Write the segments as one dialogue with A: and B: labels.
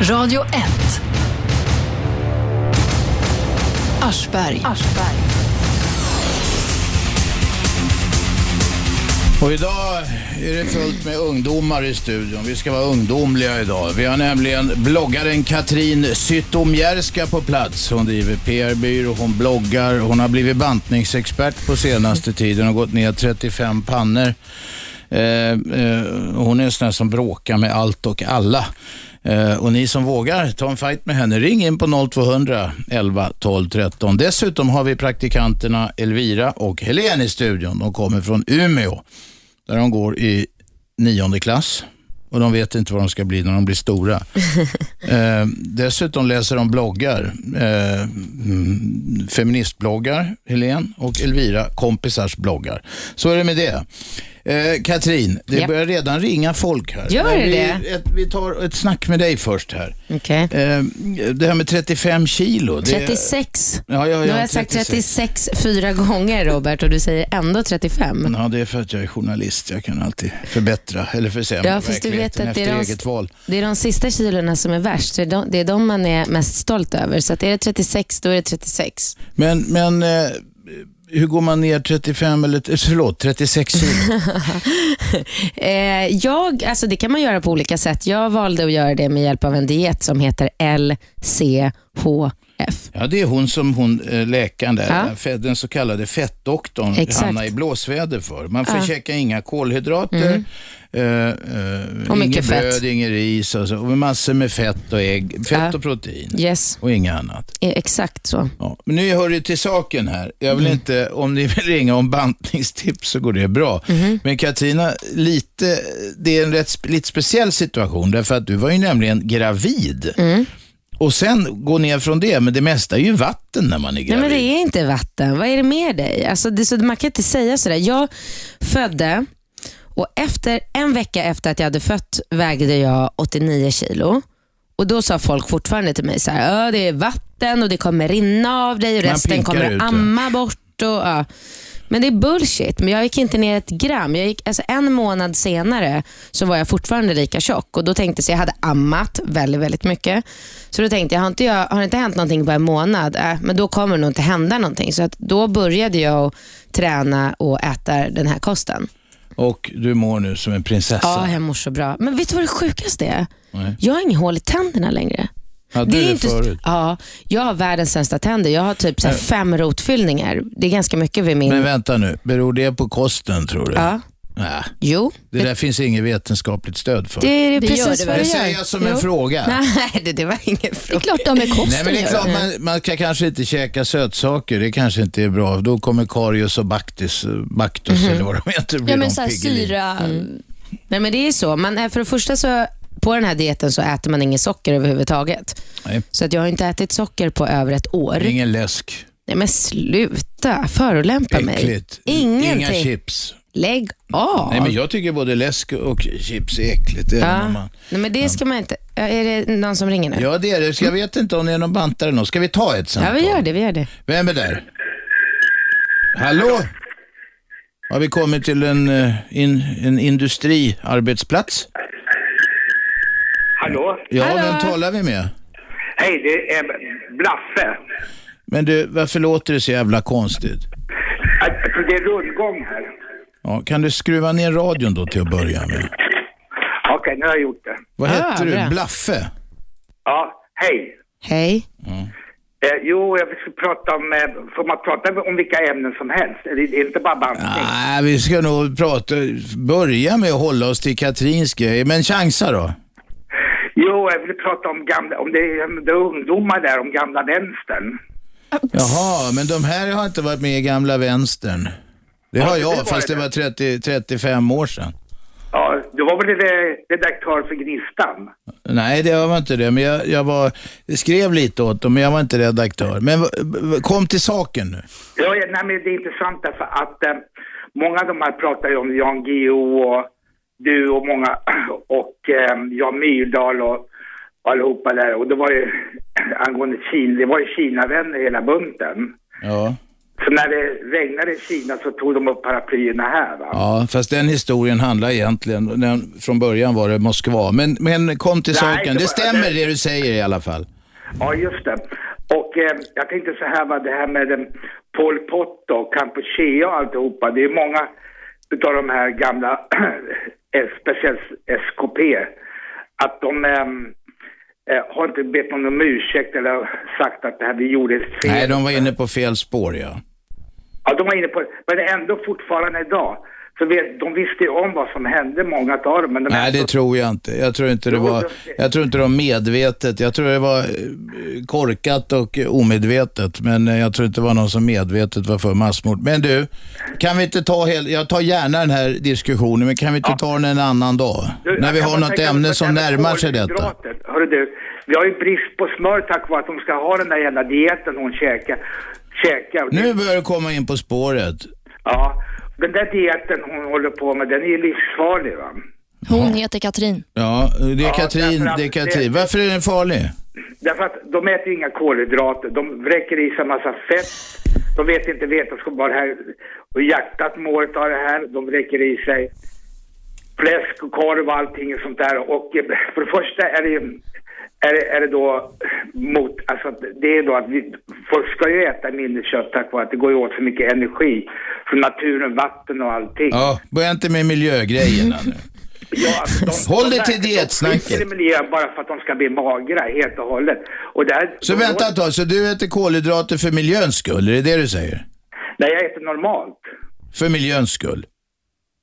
A: Radio 1. Aschberg.
B: Och idag är det fullt med ungdomar i studion. Vi ska vara ungdomliga idag. Vi har nämligen bloggaren Katrin Zytomierska på plats. Hon driver PR-byrå, hon bloggar, hon har blivit bantningsexpert på senaste tiden och gått ner 35 pannor. Eh, eh, hon är en sån där som bråkar med allt och alla. Eh, och ni som vågar ta en fight med henne, ring in på 0200 11 12 13. Dessutom har vi praktikanterna Elvira och Helen i studion. De kommer från Umeå där de går i nionde klass och de vet inte vad de ska bli när de blir stora. eh, dessutom läser de bloggar. Eh, mm, feministbloggar, Helen och Elvira, kompisars bloggar. Så är det med det. Eh, Katrin, det
C: Japp.
B: börjar redan ringa folk här.
C: Gör
B: Men
C: det
B: vi,
C: det?
B: Ett, vi tar ett snack med dig först här.
C: Okej.
B: Eh, det här med 35 kilo. Det,
C: 36.
B: Ja, ja, ja,
C: Nu har jag sagt 36 fyra gånger Robert och du säger ändå 35.
B: Ja, det är för att jag är journalist. Jag kan alltid förbättra eller försämra
C: Ja, fast du vet
B: verkligheten
C: att det
B: efter
C: är de-
B: eget val.
C: Det är de sista kilorna som är värst. Det är de, det är de man är mest stolt över. Så att är det 36, då är det 36.
B: Men, men eh, hur går man ner 35 eller eh, förlåt, 36 kilo?
C: Eh, jag, alltså det kan man göra på olika sätt. Jag valde att göra det med hjälp av en diet som heter LCHF.
B: ja, det är hon som hon eh, läkaren där,
C: Ja.
B: ja. den så kallade fettdoktorn,
C: Exakt.
B: hamnar i blåsväder för. Man får
C: Ja. Mm.
B: käka inga kolhydrater, eh, eh,
C: Och
B: inget
C: mycket fett.
B: bröd, ingen ris och, så, och massor med fett och ägg, fett
C: Ja.
B: och protein
C: Yes,
B: och inget annat.
C: eh, exakt så.
B: Ja, men nu hör det till saken här. Jag
C: Mm.
B: vill inte, om ni vill ringa om bantningstips så går det bra.
C: Mhm.
B: Men Katina, lite, det är en rätt, sp- lite speciell situation därför att du var ju nämligen gravid.
C: Mm.
B: Och sen gå ner från det, men det mesta är ju vatten när man är
C: Nej,
B: gravid.
C: men det är inte vatten. Vad är det med dig? Alltså, det, så, man kan inte säga sådär. Jag födde och efter, en vecka efter att jag hade fött vägde jag 89 kilo. Och Då sa folk fortfarande till mig så här, "Ja, det är vatten och det kommer rinna av dig och
B: Man
C: resten
B: pinkar
C: kommer
B: ut det.
C: att amma bort. Och, ja. Men det är bullshit. Men jag gick inte ner ett gram. Jag gick, alltså en månad senare så var jag fortfarande lika tjock. Och då tänkte jag, så jag hade ammat väldigt, väldigt mycket. Så då tänkte jag, har, inte jag, har det inte hänt någonting på en månad? Äh, men då kommer det nog inte hända någonting. Så att då började jag att träna och äta den här kosten.
B: Och du mår nu som en prinsessa.
C: Ja, jag mår så bra. Men vet du vad det sjukaste är?
B: Nej.
C: Jag har inget hål i tänderna längre.
B: Hade du det förut?
C: Ja, jag har världens sämsta tänder. Jag har typ så här fem rotfyllningar. Det är ganska mycket vid min...
B: Men vänta nu, beror det på kosten tror du?
C: ja.
B: Nej,
C: Jo,
B: det där finns inget vetenskapligt stöd för.
C: det är
D: Det gör
C: precis
D: det väl?
C: vad det
B: det
D: jag
B: säger
C: gör.
B: jag som en
D: Jo.
B: fråga.
C: Nej, det, det var ingen
D: Det är
C: fråga.
D: klart de med kosten
B: Nej, men det är
D: gör.
B: klart, man, man ska kanske inte käka sötsaker. Det kanske inte är bra. Då kommer karius och baktis, baktus
C: Mhm.
B: eller vad de heter. blir
D: Ja, men
B: de
D: så här,
B: piggelin. Mm.
D: syra.
C: Nej, men det är så. Man, är- för det första så, på den här dieten så äter man inget socker överhuvudtaget.
B: Nej,
C: Så att jag har inte ätit socker på över ett år.
B: ingen läsk.
C: Nej, men sluta förolämpa mig.
B: Äckligt.
C: Ingenting.
B: Inga chips.
C: Lägg av.
B: Nej, men jag tycker både läsk och chips är äckligt. även
C: Ja.
B: om Man...
C: Nej, men det ska man inte. Ja, Är det någon som ringer nu?
B: Ja, det är det. Så Jag vet inte om det är någon bantare eller något. Ska vi ta ett
C: Ja,
B: samtal?
C: vi gör det. Vi gör det.
B: Vem är där? Hallå? Har vi kommit till en, eh, in, en industriarbetsplats?
E: Hallå?
B: Ja,
C: Hallå?
B: vem talar vi med?
E: Hej, det är Blaffe.
B: Men du, varför låter det så jävla konstigt?
E: Att- att Det är rundgång här.
B: Ja, kan du skruva ner radion då till att börja med?
E: Okej, nu har jag gjort det.
B: Vad
C: Ah,
B: heter du?
C: bra.
B: Blaffe?
E: Ja, hej.
C: Hej.
E: Eh, jo, jag vill prata om... Eh, får man prata om vilka ämnen som helst? Det är inte bara bantning.
B: Nej, vi ska nog prata, börja med att hålla oss till Katrins grej. Men chansa då.
E: Jo, jag vill prata om gamla... Om det, är- om det är ungdomar där, om gamla vänstern.
B: Jaha, men de här har inte varit med i gamla vänstern. Det har
E: det
B: jag,
E: var
B: fast det
E: det.
B: var 30, 35 år sedan.
E: Ja, du var väl re- redaktör för Gnistan?
B: Nej, det var inte det. Men jag, jag var, skrev lite åt dem, men jag var inte redaktör. Men v- v- kom till saken nu.
E: Ja, ja, nej, men det är intressant därför att eh, många av de här pratar ju om Jan Guillou och du och många och eh, Jan Myrdal och allihopa där. Och det var ju angående Kina, det var ju Kinavänner hela bunten.
B: Ja.
E: Så när det regnade i Kina så tog de upp paraplyerna här. Va?
B: Ja, fast den historien handlar egentligen, den, från början var det Moskva. Men, men kom till
E: Nej,
B: saken,
E: det
B: det
E: var-
B: stämmer det du säger i alla fall.
E: Ja, just det. Och eh, jag tänkte så här, va, det här med eh, Pol Pot och Kampuchea och alltihopa. Det är många utav de här gamla, eh, speciellt SKP, att de ehm, eh, har inte bett om någon ursäkt eller sagt att det här vi gjorde fel.
B: Nej, de var inne på fel spår ja.
E: Ja, de var inne på det. Men ändå fortfarande idag. Så vet, de visste ju om vad som hände, många av dem. Men de
B: Nej, det tror jag inte. Jag tror inte det
E: Jo,
B: var,
E: det-
B: jag tror inte det var medvetet. Jag tror det var eh, korkat och eh, omedvetet. Men eh, jag tror inte det var någon som medvetet var för massmord. Men du, kan vi inte ta hel... Jag tar gärna den här diskussionen, men kan vi inte ta den en annan dag?
E: Du,
B: När vi
E: jag
B: har
E: kan bara
B: något
E: tänka mig
B: ämne
E: att
B: som
E: det här med
B: närmar sig detta.
E: kolhydrater. Hörru du, vi har ju brist på smör tack vare att de ska ha den där jävla dieten hon käkar. käkar.
B: Nu börjar du komma in på spåret.
E: Ja, den där dieten hon håller på med, den är ju livsfarlig va.
A: Hon heter Katrin.
B: Ja, det är
E: Ja,
B: Katrin.
E: därför att
B: Det är Katrin.
E: det-
B: Varför är den farlig?
E: Därför att de äter ju inga kolhydrater, de vräker i sig en massa fett. De vet inte vetenskap vad det här, och hjärtat mår av det här, de vräker i sig fläsk och korv och allting sånt där. Och eh, för det första är det ju- är det, är det då mot, alltså att det är då att vi, folk ska ju äta mindre kött tack vare att det går ju åt så mycket energi från naturen, vatten och allting.
B: Ja, börja inte med miljögrejerna nu.
E: Ja, alltså, de,
B: Håll
E: de
B: dig till
E: verkar- de
B: dietsnacket.
E: skiter i miljön bara för att de ska bli magra helt och hållet. Och det här,
B: Så
E: de-
B: vänta ett tag, så du äter kolhydrater för miljöns skull? Är det det du säger?
E: Nej, jag äter normalt.
B: För miljöns skull?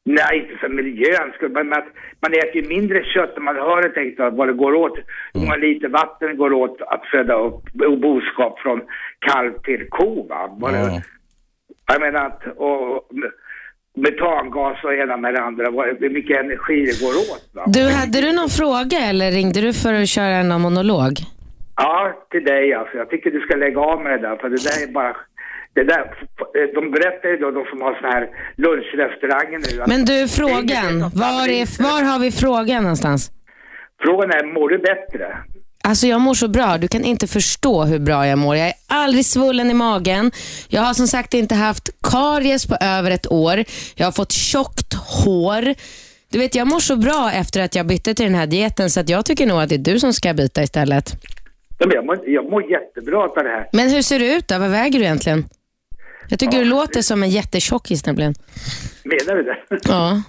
E: Nej, inte för miljöns skull, men att man äter ju mindre kött och man hör helt enkelt vad det går åt. Hur många liter vatten det går åt att föda upp och boskap från kalv till ko, va? Vad
B: Ja.
E: det, jag menar att och, metangas och ena med det andra, vad, hur mycket energi det går åt. Va?
C: Du, hade du någon fråga eller ringde du för att köra en monolog?
E: Ja, till dig alltså. Jag tycker du ska lägga av med det där, för det där är bara... Det där, de berättar ju då, de som har såna här lunchrestauranger nu. att-
C: Men du,
E: Det är inget
C: frågan.
E: som
C: Var, är, var har vi frågan någonstans?
E: Frågan är, mår du bättre?
C: Alltså jag mår så bra. Du kan inte förstå hur bra jag mår. Jag är aldrig svullen i magen. Jag har som sagt inte haft karies på över ett år. Jag har fått tjockt hår. Du vet, jag mår så bra efter att jag bytte till den här dieten så att jag tycker nog att det är du som ska byta istället.
E: Ja, men Jag mår, jag mår jättebra av det här.
C: Men hur ser du ut då? Vad väger du egentligen? Jag tycker du låter som en jättetjockis nämligen.
E: Menar du det?
C: Ja.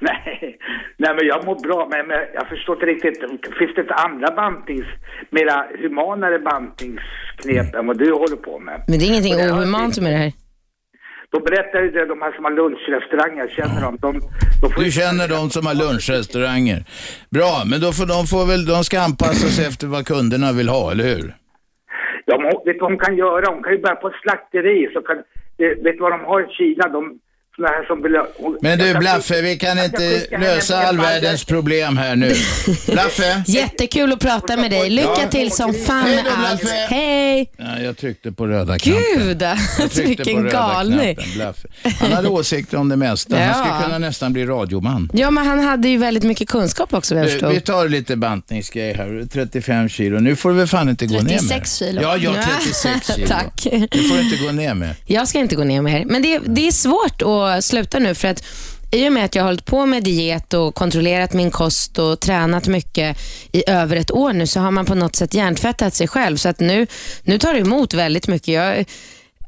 E: Nej. Nej, men jag mår bra. Men, men jag förstår inte riktigt. Finns det inte andra bantnings, mera humanare bantningsknep än vad du håller på med?
C: Men det är ingenting ohumant med det här.
E: De berättar ju det, de här som har lunchrestauranger, jag känner dem. De, de får
B: Du känner de som har lunchrestauranger. Bra, men då får de, får väl, de ska anpassa sig efter vad kunderna vill ha, eller hur?
E: Ja, men hon- vet du vad hon kan göra? Hon kan ju börja på ett slakteri. Så kan, eh, vet du vad de har i Kina? De, såna här som vill... ha- hon-
B: Men
E: jag
B: du
E: kan-
B: Blaffe, vi kan
E: jag
B: inte
E: skicka henne
B: lösa
E: en
B: all
E: bajs.
B: världens problem här nu. Blaffe?
C: Jättekul att prata med dig. Lycka till som fan
B: Hej
C: med
B: då,
C: allt.
B: Blaffe.
C: Hej!
B: Ja, jag tryckte på röda knappen.
C: Gud,
B: Jag
C: alltså,
B: tryckte på
C: vilken
B: röda
C: galning.
B: knappen, Blaffe. Han hade åsikter om det mesta. Han skulle
C: Ja.
B: kunna nästan bli radioman.
C: Ja, men han hade ju väldigt mycket kunskap också vad jag
B: Du,
C: förstod.
B: vi tar lite bantningsgrej här. 35 kilo. Nu får du väl fan inte gå ner med.
A: 36 kilo.
B: Ja, ja, 36 kilo.
C: Tack.
B: Nu får du inte gå ner med.
C: Jag ska inte gå ner mer. Men det, det är svårt att sluta nu för att i och med att jag har hållit på med diet och kontrollerat min kost och tränat mycket i över ett år nu så har man på något sätt hjärntvättat sig själv. Så att nu, nu tar det emot väldigt mycket. Jag,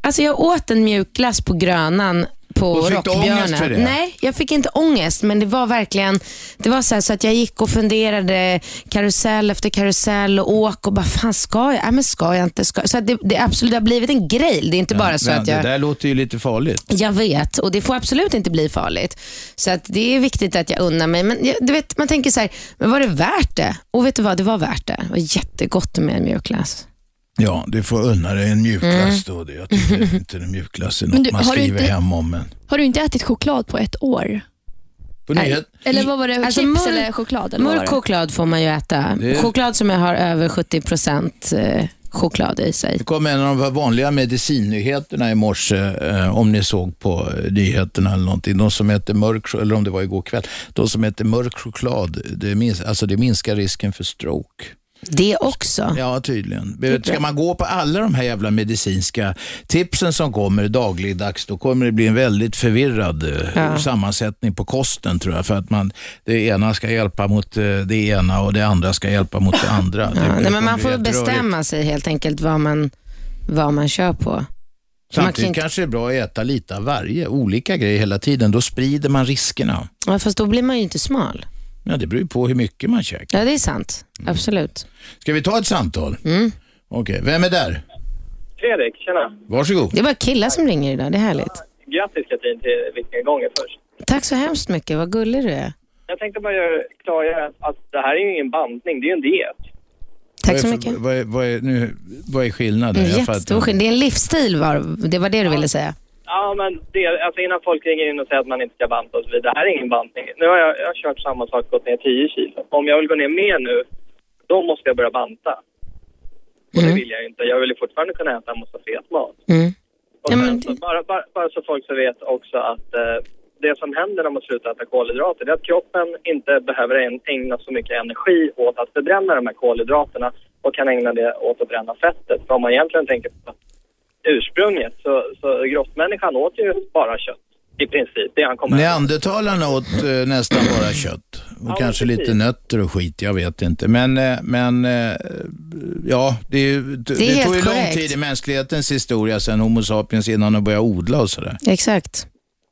C: alltså jag åt en mjukglass på Grönan på
B: Och fick du ångest
C: Rockbjörnen.
B: för det?
C: Nej, jag fick inte ångest men det var verkligen det var så, här, så att jag gick och funderade karusell efter karusell och åk och bara fan ska jag? Nej, men ska jag inte? Ska? jag?" Så att det, det, är absolut, det har blivit en grej. Det är inte bara så
B: Men
C: att jag...
B: Det där låter ju lite farligt.
C: Jag vet och det får absolut inte bli farligt. Så att det är viktigt att jag unnar mig. Men jag, du vet, man tänker så här, men var det värt det? Och vet du vad, det var värt det. Det var jättegott med en mjukglass.
B: Ja, du får unna dig en mjukglass
C: Mm.
B: då. Det- Jag tycker inte en mjukglass är
A: Men
B: något
A: du,
B: man
A: har du
B: skriver
A: inte-
B: hem om. Men.
A: Har du inte ätit choklad på ett år?
B: På
C: Nej.
B: nyhet.
A: Eller vad var det?
C: Alltså,
A: chips
C: mörk-
A: eller choklad? Eller vad var
C: Mörk
A: det?
C: choklad får man ju äta.
B: Det-
C: Choklad som jag har över 70% eh, choklad i sig.
B: Det kom en av de vanliga medicinnyheterna i morse, eh, om ni såg på eh, nyheterna eller någonting. De som äter mörk, ch- eller om det var igår kväll, de som äter mörk choklad, det, minns, alltså det minskar risken för stroke.
C: Det också.
B: Ja, tydligen. Ska man gå på alla de här jävla medicinska tipsen som kommer dagligdags, då kommer det bli en väldigt förvirrad eh,
C: Ja.
B: sammansättning på kosten tror jag. För att man, det ena ska hjälpa mot eh, det ena och det andra ska hjälpa mot det andra.
C: Ja,
B: Det blir-
C: nej, men
B: kommer
C: man
B: bli
C: får
B: helt rörigt.
C: bestämma sig helt enkelt vad man, vad man kör på. Så man kan
B: Samtidigt
C: inte,
B: kanske det är bra att äta lite av varje, olika grejer hela tiden. Då sprider man riskerna.
C: ja, fast då blir man ju inte smal.
B: Ja, det beror ju på hur mycket man käkar. Mm.
C: Ja, det är sant. Absolut. Mm.
B: Ska vi ta ett samtal? Okej, vem är där?
D: Fredrik, tjena.
B: Varsågod.
C: Det är bara killar som ringer idag. Det är härligt.
D: Grattis Katrin till viktnedgången först.
C: Tack så hemskt mycket. Vad gullig du är.
D: Jag tänkte bara göra- klargöra att- att det här är ju ingen bantning, det är ju en diet.
C: Tack så
B: Vad är-
C: mycket.
B: Vad är, vad är, nu, vad är skillnaden?
C: En
B: Jag fattar
C: jättestor
B: inte.
C: skillnad. Det är en livsstil, var, det var det du ville säga.
D: Ja, men det, alltså innan folk ringer in och säger att man inte ska banta och så vidare, det här är ingen bantning. Nu har jag, jag har kört samma sak, gått ner 10 kilo. Om jag vill gå ner mer nu, då måste jag börja banta. Och det vill jag ju inte. Jag vill ju fortfarande kunna äta en massa fet mat.
C: Mm.
D: Och
C: Ja,
D: sen,
C: men
D: så,
C: det-
D: bara, bara, bara så folk så vet också att eh, det som händer när man slutar äta kolhydrater det är att kroppen inte behöver en- ägna så mycket energi åt att förbränna de här kolhydraterna och kan ägna det åt att bränna fettet. För om man egentligen tänker på ursprunget så, så grottmänniskan åt ju bara kött i princip. Det han kom med.
B: Neandertalarna åt eh, nästan
C: Mm.
B: bara kött och
D: men
B: kanske
D: precis.
B: lite nötter och skit, jag vet inte. Men, eh, men eh, ja, det, är ju- det,
C: helt
B: tog ju lång
C: korrekt.
B: tid i mänsklighetens historia sen Homo sapiens innan de började odla och sådär.
C: Exakt.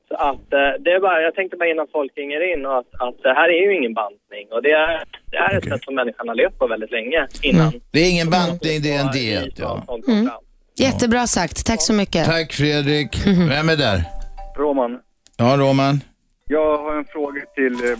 D: Så att, eh, det är bara, jag tänkte bara innan folk ringer in och att, att det här är ju ingen bantning och det är, det här är ett sätt som människan har levt på väldigt länge
C: Mm.
D: innan.
B: Det är ingen bantning, det är en
D: Och, eh,
B: diet.
D: Island
B: Ja.
D: som kom fram.
C: Jättebra sagt. Tack så mycket.
B: Tack Fredrik. Vem är där?
F: Roman,
B: Ja, Roman.
F: jag har en fråga till eh,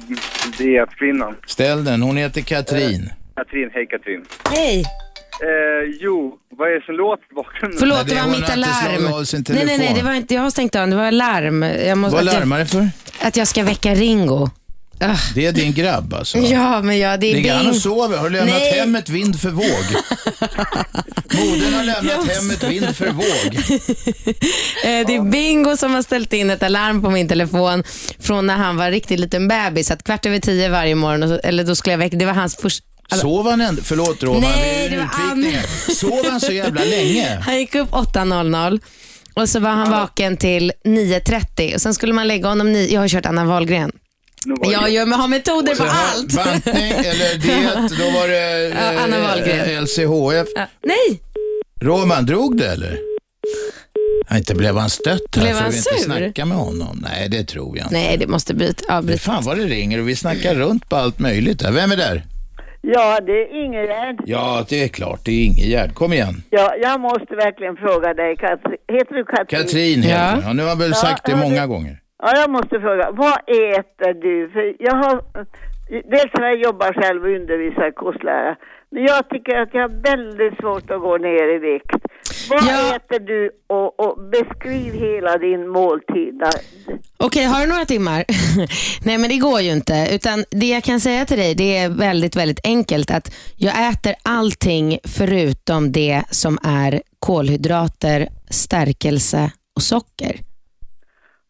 F: dietkvinnan.
B: Ställ den. Hon heter
C: Eh,
B: Katrin.
F: Katrin, hej Katrin.
C: Hej.
F: Eh, jo, vad är det som låter i bakgrunden?
B: Nej,
C: Förlåt,
B: det-
C: det var
B: hon
C: mitt
B: har inte slagit av sin
C: alarm. Nej, nej, nej.
B: telefon.
C: Det var inte, jag har stängt av den. Det var alarm. Jag måste,
B: Vad
C: att, jag,
B: larmar det för?
C: att jag ska väcka Ringo. Ugh.
B: Det är din grabb alltså?
C: Ah. Ja, men ja, det är
B: Ligger han
C: Bing.
B: och sover? Har du lämnat
C: Nej.
B: hemmet vind för våg? Modern har lämnat
C: måste-
B: hemmet vind för våg.
C: Eh, Det är Bingo som har ställt in ett alarm på min telefon från när han var riktigt liten bebis. Att kvart över tio varje morgon, och så, eller då skulle jag väcka, det var hans första...
B: Sov han ändå? Förlåt Roman,
C: Nej,
B: vi är
C: det var
B: utvikningar. Sov han så jävla länge?
C: Han gick upp 8.00 och så var han vaken till 9.30 och sen skulle man lägga honom nio. Jag har kört Anna Wahlgren.
F: Nu var det-
C: Jag gör, har metoder på
B: Så har-
C: allt.
B: Bantning eller diet, då var det eh,
C: Ja, Anna Wahlgren.
B: eh, LCHF.
C: Ja, Nej,
B: Roman, drog det eller? Nej, inte blev han stött här
C: Blev
B: för
C: han
B: vi inte
C: sur?
B: snacka med honom. Nej, det tror jag inte.
C: nej det måste byta. Ja,
B: Det är
C: byta.
B: fan vad det ringer och vi snackar runt på allt möjligt här. Vem är där?
G: Ja, det är Ingegärd.
B: Ja, det är klart, det är Ingegärd. Kom igen.
G: Ja, jag måste verkligen fråga dig, Katri... heter du Katrin?
B: Katrin heter
C: Ja.
B: hon. ja. Nu har jag väl
G: Ja,
B: sagt det
G: ja,
B: många
G: det-
B: gånger.
G: Ja, jag måste fråga, vad äter du? För jag har, dels när jag jobbar själv och undervisar kostlära, men jag tycker att jag har väldigt svårt att gå ner i vikt. Vad
C: Ja.
G: äter du och, och beskriv hela din måltid. där.
C: Okej, har du några timmar? Nej, men det går ju inte. Utan det jag kan säga till dig, det är väldigt, väldigt enkelt. Att jag äter allting förutom det som är kolhydrater, stärkelse och socker.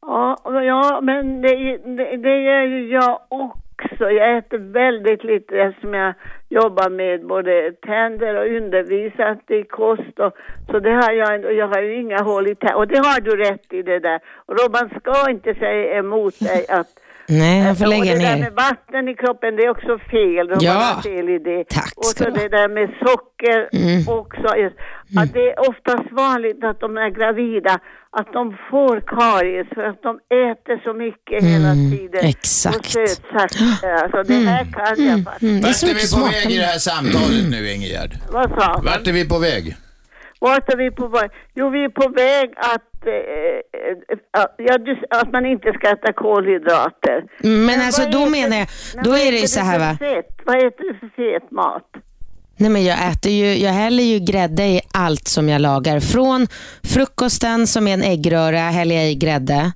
G: Ja, och- ja men det, det, det gör ju jag också. Jag äter väldigt lite eftersom jag jobbar med både tänder och undervisat i kost. Och, så det har jag, och jag har ju inga hål i tänderna. Och det har du rätt i det där. Och Robban ska inte säga emot dig att
C: Nej, jag får
G: Eh, och
C: lägga
G: det där
C: ner.
G: med vatten i kroppen, det är också fel. Robban
C: Ja.
G: har fel i det.
C: Tack
G: Och
C: ska
G: så
C: du ha. Mm.
G: det där med socker också. är- Att det är oftast vanligt att de är gravida, att de får karies för att de äter så mycket hela tiden. Och
C: Mm, exakt.
G: sötsaker. Alltså det här kan jag faktiskt.
C: Mm, det är
B: Vart
C: så
B: är
C: mycket
B: vi på
C: smak.
B: väg i det här samtalet nu, Ingegärd?
G: Vad sa han?
B: Vart är vi på väg?
G: Vart är vi på väg? Jo, vi är på väg att, eh, eh, ja, du- att man inte ska äta kolhydrater.
C: Mm, Men alltså
G: vad
C: då
G: äter-
C: menar jag,
G: men
C: då
G: vad
C: är det
G: äter
C: ju så
G: du
C: här
G: för
C: va.
G: Fett? Vad äter du för fet mat?
C: Nej men jag äter ju, jag häller ju grädde i allt som jag lagar. Från frukosten som är en äggröra häller jag i grädde.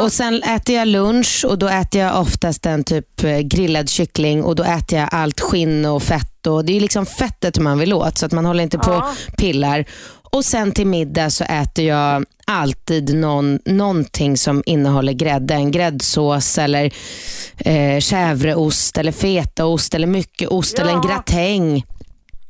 C: Och sen äter jag lunch och då äter jag oftast en typ eh, grillad kyckling och då äter jag allt skinn och fett. Och det är ju liksom fettet man vill åt så att man håller inte på och pillar. Och sen till middag så äter jag alltid någon, någonting som innehåller grädde. En gräddsås eller eh, chèvreost eller fetaost eller mycket ost eller en
G: Ja.
C: gratäng.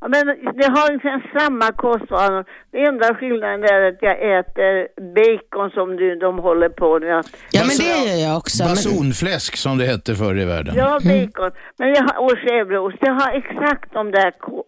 G: Ja, Men det har ungefär samma kostvanor. Den enda skillnaden är att jag äter bacon som du, de håller på med. att-
C: Ja, men det gör jag också. Men,
B: Basonfläsk som det hette förr i världen.
G: Ja,
C: Mm.
G: bacon. Men jag har, och chèvreost. Jag har exakt de där ko,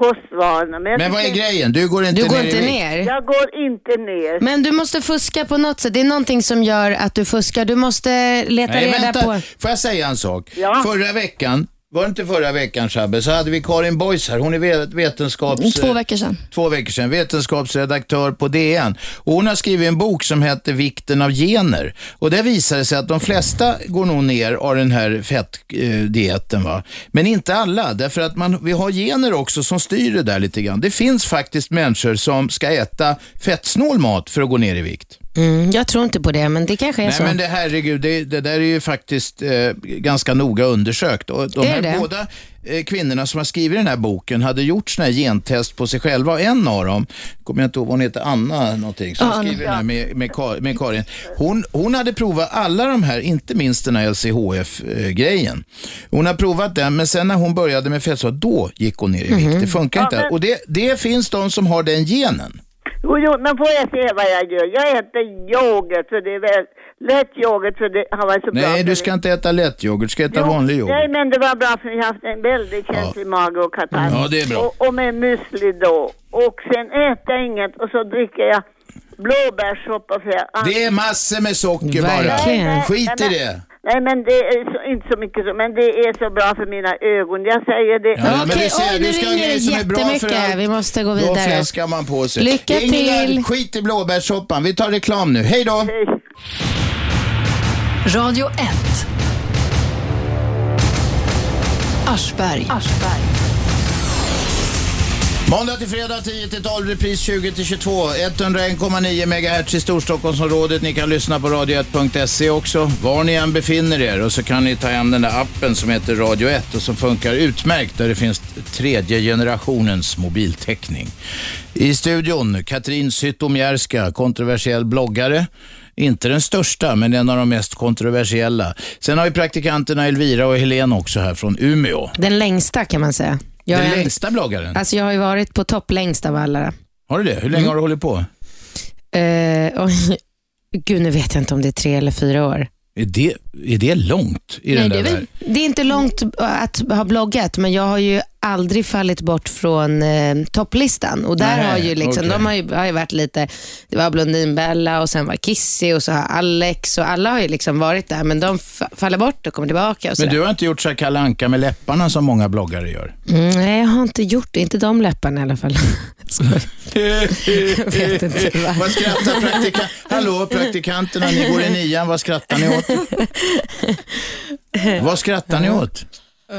G: kostvanorna. jag
B: Men vad är
G: tycker-
B: grejen? Du går inte
C: du går
B: ner
C: inte
B: i vikt.
C: ner.
G: Jag går inte ner.
C: Men du måste fuska på något sätt. Det är någonting som gör att du fuskar. Du måste leta
B: Nej,
C: reda
B: vänta.
C: på...
B: Får jag säga en sak?
G: Ja.
B: Förra veckan, var det inte förra veckan Shabbe, så hade vi Karin Boys här. Hon är ve- vetenskaps...
A: Två veckor sedan.
B: två veckor sedan, vetenskapsredaktör på DN. Och hon har skrivit en bok som heter Vikten av gener. Och där visar det sig att de flesta går nog ner av den här fettdieten. Va? Men inte alla, därför att man, vi har gener också som styr det där lite grann. Det finns faktiskt människor som ska äta fettsnål mat för att gå ner i vikt.
C: Mm, jag tror inte på det, men det kanske är
B: Nej
C: så.
B: men det, herregud, det, det där är ju faktiskt eh, ganska noga undersökt. Och de
C: Är
B: här
C: det?
B: båda eh, kvinnorna som har skrivit den här boken hade gjort såna här gentest på sig själva. Och En av dem, kommer jag inte ihåg vad hon heter, Anna någonting, som skriver den här med, med, Ka- med Karin. Hon, hon hade provat alla de här, inte minst den här LCHF-grejen. Hon har provat den, men sen när hon började med fettsvart, då gick hon ner i vikt.
C: Mhm.
B: Det funkar inte.
G: men-
B: Och det, det finns de som har den genen.
G: Jo, jo, men får jag se vad jag gör? Jag äter yoghurt för det är väl lätt yoghurt för det har varit så bra.
B: Nej,
G: för
B: du ska
G: det.
B: inte äta lättyoghurt, du ska äta vanlig yoghurt.
G: Nej, men det var bra för jag har haft en väldigt känslig mage och katarr.
B: Ja, det är bra.
G: Och, och med müsli då. Och sen äter jag inget och så dricker jag blåbärssoppa för jag...
B: Det är massor med socker
C: Verkligen.
B: bara.
G: Nej,
B: Skit i
G: nej,
B: det.
G: Nej, men det är så, inte så mycket så, men det är så bra för mina ögon. Jag säger det.
B: Ja, men
C: Okej,
B: vi ser,
C: oj,
B: du
C: nu
B: ska ha
C: ringer det
B: grejer som är bra för
C: jättemycket.
B: allt.
C: Vi måste gå
B: Då
C: vidare.
B: fläskar man på sig.
C: Lycka
B: Ingegerd,
C: till.
B: skit i blåbärssoppan. Vi tar reklam nu. Hej då!
G: Hej.
H: Radio 1. Aschberg.
B: Måndag till fredag 10 till 12, repris 20 till 22. 101,9 MHz i Storstockholmsområdet. Ni kan lyssna på radio1.se också, var ni än befinner er. Och så kan ni ta hem den där appen som heter Radio 1 och som funkar utmärkt där det finns tredje generationens mobiltäckning. I studion, Katrin Zytomierska, kontroversiell bloggare. Inte den största, men en av de mest kontroversiella. Sen har vi praktikanterna Elvira och Helen också här från Umeå.
C: Den längsta kan man säga. Jag,
B: Den
C: är,
B: längsta bloggaren.
C: alltså, jag har ju varit på topp längst av alla.
B: Har du det? Hur länge har du hållit på?
C: Eh, oj, gud, nu vet jag inte om det är tre eller fyra år.
B: Är det, är det långt i
A: Nej,
B: den
A: det
B: där
A: är väl-
B: världen?
C: Det är inte långt äh, att ha bloggat, men jag har ju aldrig fallit bort från eh, topplistan. Och där
B: Nej,
C: har ju liksom,
B: okej.
C: de har ju, har ju varit lite, det var Blondinbella och sen var Kissy och så har Alex och alla har ju liksom varit där, men de fa- faller bort och kommer tillbaka. Och
B: Men
C: sådär.
B: du har inte gjort så här Kalle Anka med läpparna som många bloggare gör?
C: Mm, nej, jag har inte gjort det. Inte de läpparna i alla fall. Skoj. jag vet inte. vad-
B: Vad skrattar praktikanterna? Hallå praktikanterna, ni går i nian, vad skrattar ni åt? Vad skrattar ni åt?
C: Eh.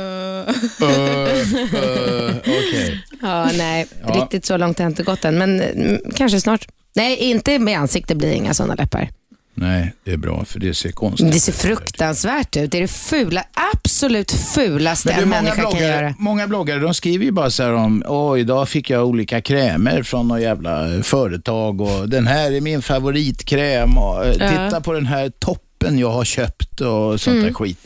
B: Uh, uh, Okej.
C: Ja, nej, riktigt så långt har jag inte gått än, men mm, kanske snart. Nej, inte med ansikte blir inga sådana läppar.
B: Nej, det är bra för det ser konstigt
C: Det ser fruktansvärt ut. Det är det fula, absolut fulaste
B: Men du,
C: en
B: många,
C: människa kan
B: bloggare,
C: göra.
B: många bloggare de skriver ju bara så här om, åh idag fick jag olika krämer från några jävla företag och den här är min favoritkräm och eh, titta på den här toppen jag har köpt och sånt
C: Mm.
B: där skit.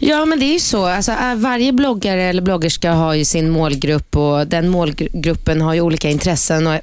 C: Ja, men det är ju så. Alltså, äh, varje bloggare eller bloggerska har ju sin målgrupp och den målgruppen har ju olika intressen. Och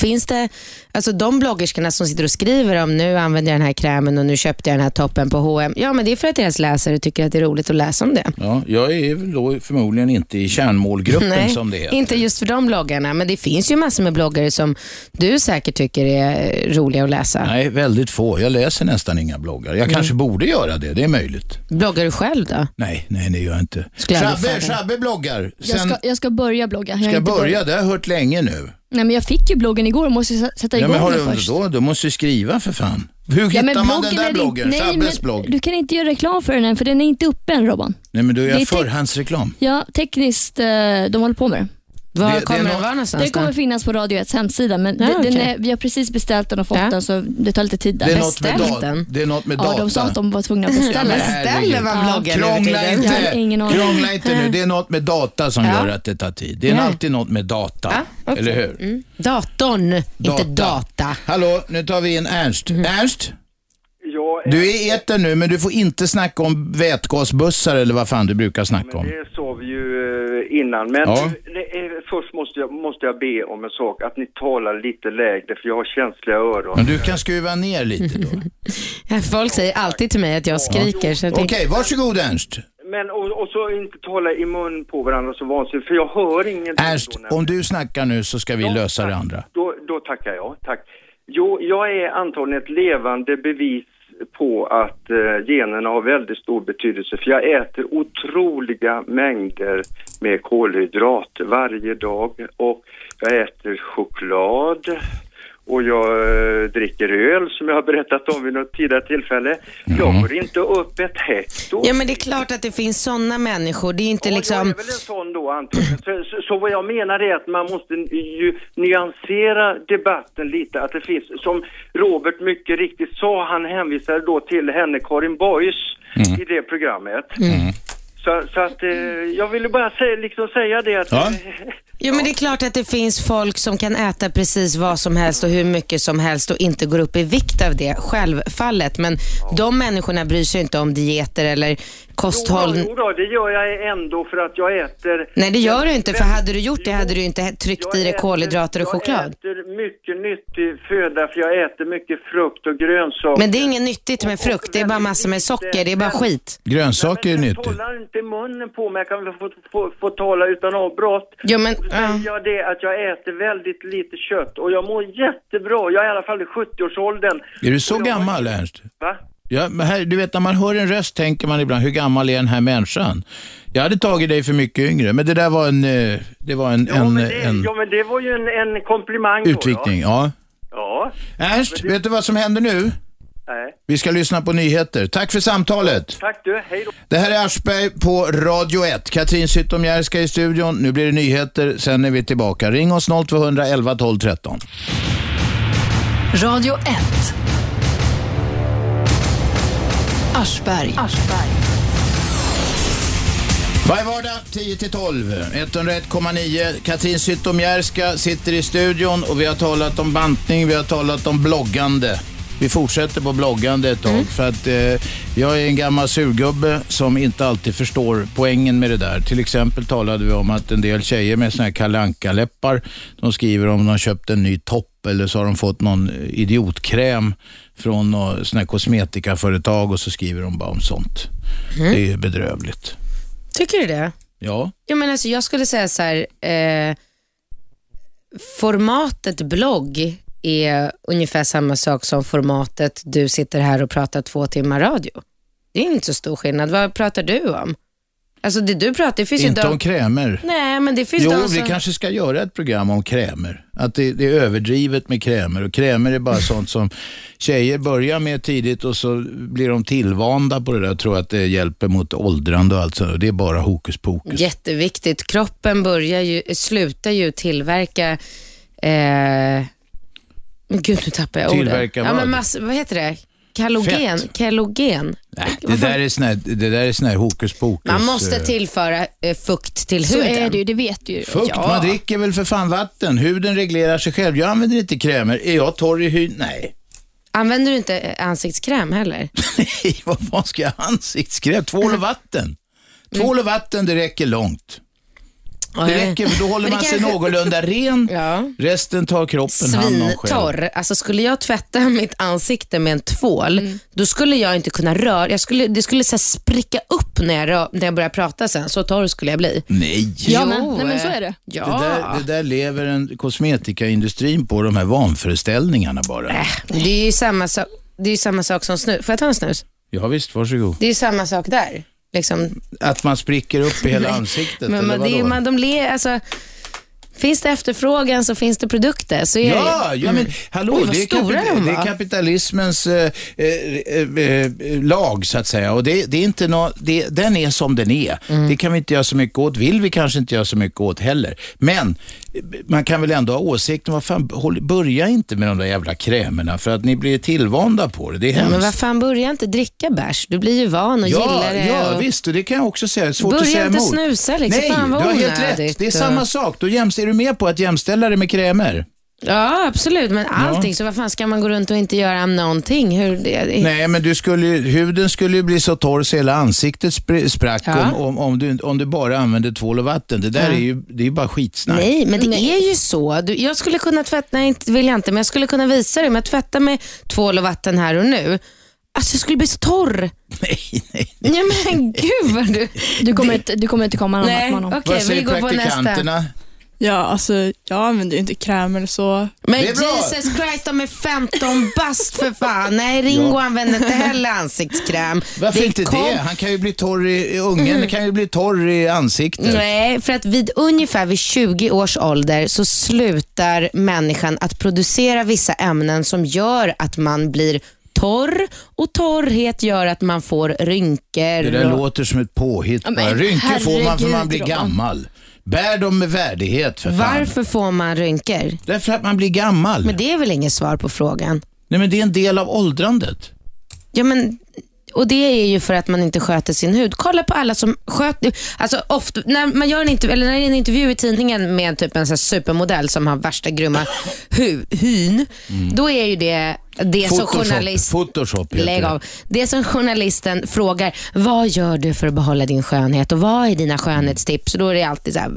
C: finns det, alltså de bloggerskorna som sitter och skriver om nu använder jag den här krämen och nu köpte jag den här toppen på H&M. Ja, men det är för att deras läsare tycker att det är roligt att läsa om det.
B: Ja, jag är väl då förmodligen inte i kärnmålgruppen som det heter.
C: inte just för de bloggarna, men det finns ju massor med bloggare som du säkert tycker är eh, roliga att läsa.
B: Nej, väldigt få. Jag läser nästan inga bloggar.
C: Mm.
B: Jag kanske borde göra det, det är möjligt.
C: Bloggar du själv då?
B: Nej, nej det gör jag inte.
C: Skulle jag aldrig
B: Shabbe,
C: säga.
B: Shabbe bloggar. Sen,
A: Jag ska, jag ska börja blogga. Jag har
B: ska jag
A: inte börjat.
B: börja? Det har jag hört länge nu.
A: Nej, men jag fick ju bloggen igår och måste sä- sätta
B: Ja,
A: igång
B: men har
A: den
B: du,
A: först.
B: då, du måste ju skriva för fan. Hur
A: Ja, men
B: hittar man
A: bloggen
B: den där
A: är din-
B: bloggen?
A: Nej,
B: Sabbes
A: men
B: blogg?
A: Du kan inte göra reklam för den än, för den är inte uppe än Robban.
B: Nej, men du
A: det
B: gör
A: är typ-
B: förhandsreklam.
A: Ja, tekniskt, eh, de håller på med det.
C: Var
B: Det- det
C: kommer
B: är nå-
C: den vara någonstans?
A: Den kommer
C: då?
A: finnas på Radio 1 hemsida, men
C: Ja,
A: den, den
C: okej.
A: är, vi har precis beställt den och fått
C: Ja.
A: den, så det tar lite tid där.
B: Det är något med,
C: Beställ
B: dat-
C: den.
B: det är något med
A: ja,
B: data.
A: de sa att de var tvungna att beställa
B: men
A: den.
C: Beställer man
A: Ja.
C: bloggen nu för
B: Krångla
C: tiden?
A: Jag hade ingen
B: inte,
A: aning.
B: krångla inte nu. Det är något med data som
C: Ja.
B: gör att det tar tid. Det är
C: Ja.
B: alltid något med data.
C: Ja, okej. Mm.
B: Eller hur?
C: Datorn, inte data.
B: Hallå, nu tar vi in Ernst.
A: Mm.
B: Ernst,
F: Jag är,
B: du är i etern nu, men du får inte snacka om vätgasbussar eller vad fan du brukar snacka
F: men
B: om.
F: det såg vi ju eh, innan. Men
B: Ja.
F: det är först måste jag, måste jag be om en sak, att ni talar lite lägre för jag har känsliga öron.
B: Men du kan skruva ner lite då.
C: Folk säger alltid till mig att jag skriker. Så jag
B: Okej,
C: tänker,
B: varsågod Ernst.
F: Men och, och så inte tala i mun på varandra så vansinnigt, för jag hör ingenting.
B: Ernst,
F: då när-
B: om du snackar nu så ska vi lösa det andra.
F: Då, då tackar jag, tack. Jo, jag är antagligen ett levande bevis på att eh, generna har väldigt stor betydelse för jag äter otroliga mängder med kolhydrater varje dag och jag äter choklad och jag eh, dricker öl som jag har berättat om vid något tidigare tillfälle. Jag går inte upp ett hekto.
C: Ja men det är klart att det finns sådana människor. Det är inte
F: Ja,
C: liksom...
F: jag är väl en sån då antagligen. Så, så, så vad jag menar är att man måste ju nyansera debatten lite. Att det finns, som Robert mycket riktigt sa, han hänvisade då till henne Karin Boys i det programmet.
C: Mm.
F: Så, så att eh, jag ville bara säga, liksom säga det att... eh,
B: Ja.
C: Jo men det är klart att det finns folk som kan äta precis vad som helst och hur mycket som helst och inte går upp i vikt av det, självfallet. Men de människorna bryr sig inte om dieter eller
F: Jo,
C: kosthåll.
F: då, jo då, det gör jag ändå för att jag äter...
C: Nej det gör du inte, för
F: Men-
C: hade du gjort det hade du inte tryckt
F: Jag
C: i dig
F: äter-
C: kolhydrater och choklad.
F: Jag äter mycket nyttig föda för jag äter mycket frukt och grönsaker.
C: Men det är inget nyttigt med frukt, det är bara massor med socker, det är bara skit.
B: Grönsaker är
F: men
B: nyttigt.
F: Tala inte i munnen på mig, jag kan väl få, få, få tala utan avbrott.
C: Jo men,
F: Då
C: ja.
F: säger jag det att jag äter väldigt lite kött och jag mår jättebra. Jag är i alla fall i 70-årsåldern.
B: Är du så gammal Ernst?
F: Va?
B: Ja, men här, du vet när man hör en röst tänker man ibland, hur gammal är den här människan? Jag hade tagit dig för mycket yngre, men det där var en, eh, det var en,
F: ja,
B: en,
F: men det,
B: en
F: ja, men det var ju en, en komplimang då.
B: utvikning. Ja.
F: Ja.
B: Ernst, vet du vad som händer nu?
F: ja. Nej.
B: Vi ska lyssna på nyheter. Tack för samtalet.
F: Tack du, hej då.
B: Det här är Aschberg på Radio 1. Katrin Zytomierska i studion. Nu blir det nyheter, sen är vi tillbaka. Ring oss 0211 12 13.
H: Radio 1. Aschberg.
B: Varje vardag 10 till 12, 101,9. Katrin Zytomierska sitter i studion och vi har talat om bantning, vi har talat om bloggande. Vi fortsätter på bloggande ett tag för att eh, jag är en gammal surgubbe som inte alltid förstår poängen med det där. Till exempel talade vi om att en del tjejer med såna här Kalle Anka-läppar, de skriver om de köpt en ny topp eller så har de fått någon idiotkräm från något sån här kosmetikaföretag och så skriver de bara om sånt. Det är ju bedrövligt.
C: Tycker du det?
B: Ja.
C: Ja, men alltså, jag skulle säga så här, eh, formatet blogg är ungefär samma sak som formatet du sitter här och pratar två timmar radio. Det är inte så stor skillnad. Vad pratar du om? Alltså det du pratar, det finns ju
B: Inte
C: de-
B: om krämer.
C: Nej, men det finns alltså-
B: Jo,
C: de
B: vi
C: som...
B: kanske ska göra ett program om krämer. Att det, det är överdrivet med krämer och krämer är bara sånt som tjejer börjar med tidigt och så blir de tillvanda på det där och tror att det hjälper mot åldrande och allt sånt. Och Det är bara hokus pokus.
C: Jätteviktigt. Kroppen börjar ju, slutar ju tillverka... Eh, men gud, nu tappar jag
B: Tillverka
C: ordet. Ja,
B: vad?
C: men mass, vad heter det? Kalogen. Kalogen.
B: Nej, det där är sån här, det där är sån här hokus pokus.
C: Man måste
B: eh,
C: tillföra eh, fukt till
A: Så
C: huden.
A: är det ju, det vet du ju.
B: Fukt,
A: Ja.
B: man dricker väl för fan vatten. Huden reglerar sig själv. Jag använder inte krämer. Är jag torr i hyn? Nej.
C: Använder du inte eh, ansiktskräm heller?
B: Nej, vad fan ska jag ha ansiktskräm? Tvål och vatten. Tvål och vatten, det räcker långt. Det räcker, för då håller
C: Men det
B: man sig
C: kanske-
B: någorlunda ren.
C: Ja.
B: Resten tar kroppen hand om själv.
C: Svintorr. Alltså skulle jag tvätta mitt ansikte med en tvål,
A: Mm.
C: då skulle jag inte kunna röra. Jag skulle, det skulle så här spricka upp när jag, rör, när jag började prata sen. Så torr skulle jag bli.
B: Nej.
A: Ja,
C: Jo,
A: men, nej, men så
C: eh,
A: är det.
B: Det,
C: Ja.
B: där, det där lever en kosmetikaindustrin på, de här vanföreställningarna bara.
C: Det är ju samma, sak- det är ju samma sak som snus. Får jag ta en snus?
B: Ja, visst, varsågod.
C: Det är ju samma sak där. Liksom.
B: Att man spricker upp i hela ansiktet,
C: Men
B: eller
C: man, det
B: vadå?
C: är, man, de le, alltså, finns det efterfrågan så finns det produkter. Så är det.
B: Ja, ja men hallå,
C: Oj, vad
B: det, är
C: stora
B: kapita-
C: de
B: det
C: var.
B: är kapitalismens eh, eh, eh, eh, lag så att säga. Och det, det är inte nå, det, den är som den är.
C: Mm.
B: Det kan vi inte göra så mycket åt, vill vi kanske inte göra så mycket åt heller. Men eh, man kan väl ändå ha åsikten, vad fan, håll, börja inte med de där jävla krämerna för att ni blir tillvanda på det. Det är
C: Ja,
B: hemskt.
C: men vad fan, börja inte dricka bärs. Du blir ju van och
B: Ja,
C: gillar det.
B: ja
C: och...
B: visst, och det kan jag också säga. Det är svårt
C: Börja
B: att säga
C: inte
B: emot.
C: snusa, liksom.
B: Nej,
C: Fan, vad
B: du har helt
C: onödigt.
B: rätt. Det är samma sak. Då jämst, är du med på att jämställa det med krämer?
C: Ja, absolut. Men allting, så vad fan ska man gå runt och inte göra någonting? Hur, det,
B: Nej, men du skulle, ju- huden skulle ju bli så torr så hela ansiktet spr- sprack
C: Ja.
B: om, om, om, du, om du bara använde tvål och vatten. Det där är ju det är ju bara skitsnack.
C: Nej, men det är ju så. Du, jag skulle kunna tvätta, nej inte, vill jag inte, men jag skulle kunna visa dig. Men jag tvättar med tvål och vatten här och nu. Alltså jag skulle bli så torr.
B: Nej, nej.
C: Nej men gud vad du...
A: Du kommer, inte, du kommer inte komma någon
C: Nej,
A: vart med honom.
C: okej
B: Vad
C: vi
B: säger
C: går på nästa.
B: praktikanterna?
H: Ja, alltså jag använder ju inte kräm eller så.
C: Men
B: Det är bra.
C: Jesus Christ, de är 15 bast för fan. Nej, Ringo använder inte heller ansiktskräm.
B: Varför
C: är
B: inte
C: kom- Mm.
B: det? Han kan ju bli torr i, i ungen kan ju bli torr i ansiktet.
C: Nej, för att vid ungefär vid 20 års ålder så slutar människan att producera vissa ämnen som gör att man blir torr och torrhet gör att man får rynkor.
B: Det där
C: och-
B: låter som ett påhitt.
A: Ja, men
B: bara. Rynkor får man för man
A: herregud,
B: blir
A: Robban.
B: gammal. Bär dem med värdighet för fan.
C: Varför får man rynkor?
B: Därför att man blir gammal.
C: Men det är väl inget svar på frågan?
B: Nej, men det är en del av åldrandet.
C: Ja, men, och det är ju för att man inte sköter sin hud. Kolla på alla som sköter... Alltså ofta, när, man gör en intervju, eller när det är en intervju i tidningen med typ en så här supermodell som har värsta grymma hu, hyn,
B: Mm.
C: då är ju det det som journalist...
B: Photoshop heter
C: Lägg
B: det.
C: av. Det som journalisten frågar, vad gör du för att behålla din skönhet och vad är dina skönhetstips? Och då är det alltid så här,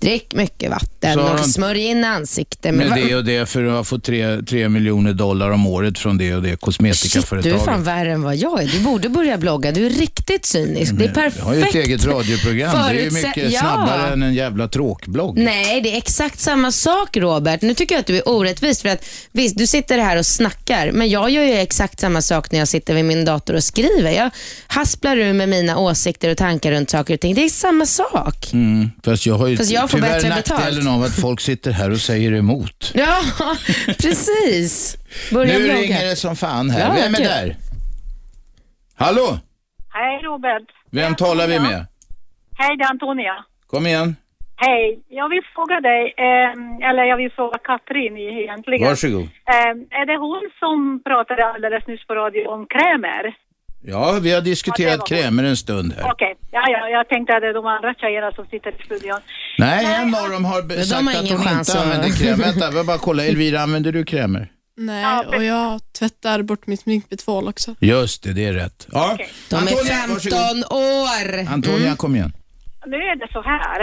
C: drick mycket vatten
B: Så har
C: och
B: han-
C: smörj in ansiktet.
B: Med
C: vad-
B: det och det för att få tre tre miljoner dollar om året från det och det
C: Shit, du
B: kosmetikaföretaget.
C: är fan värre än vad jag är. Du borde börja blogga. Du är riktigt cynisk. Det är perfekt.
B: Jag har ju ett eget radioprogram. Det är ju
C: Förutsätt-
B: mycket
C: Ja.
B: snabbare än en jävla tråkblogg.
C: Nej, det är exakt samma sak Robert. Nu tycker jag att du är orättvis för att visst, du sitter här och snackar, men jag gör ju exakt samma sak när jag sitter vid min dator och skriver. Jag hasplar ur med mina åsikter och tankar runt saker och ting. Det är samma sak.
B: Mm, fast jag har ju
C: Fast jag får
B: tyvärr
C: bättre
B: nackdelen
C: betalt.
B: av att folk sitter här och säger emot.
C: Ja, precis. Börja
B: nu
C: blogga.
B: ringer det som fan här.
C: Ja,
B: Vem är
C: kul.
B: där? Hallå?
I: Hej Robert.
B: Vem talar vi med?
I: Hej, det är Antonia.
B: Kom igen.
I: Hej. Jag vill fråga dig, ehm, eller jag vill fråga Katrin egentligen.
B: Varsågod.
I: Ehm, är det hon som pratade alldeles nyss på radio om krämer?
B: Ja, vi har diskuterat
I: var hon.
B: krämer en stund här.
I: Okej, ja, ja, jag tänkte att det är de andra tjejerna som sitter i studion.
B: Nej, en av dem har be-
C: de
B: sagt
C: har
B: att
C: ingen
B: hon
C: chans
B: inte
C: att-
B: använder krämer. Vänta, vi bara kolla. Elvira, använder du krämer?
H: Nej, och jag tvättar bort mitt sminkbetvål också.
B: Just det, det är rätt. Ja.
C: De är
B: Antonia,
C: 15
B: varsågod.
C: år. Mm.
B: Antonia, kom igen.
I: Nu är det så här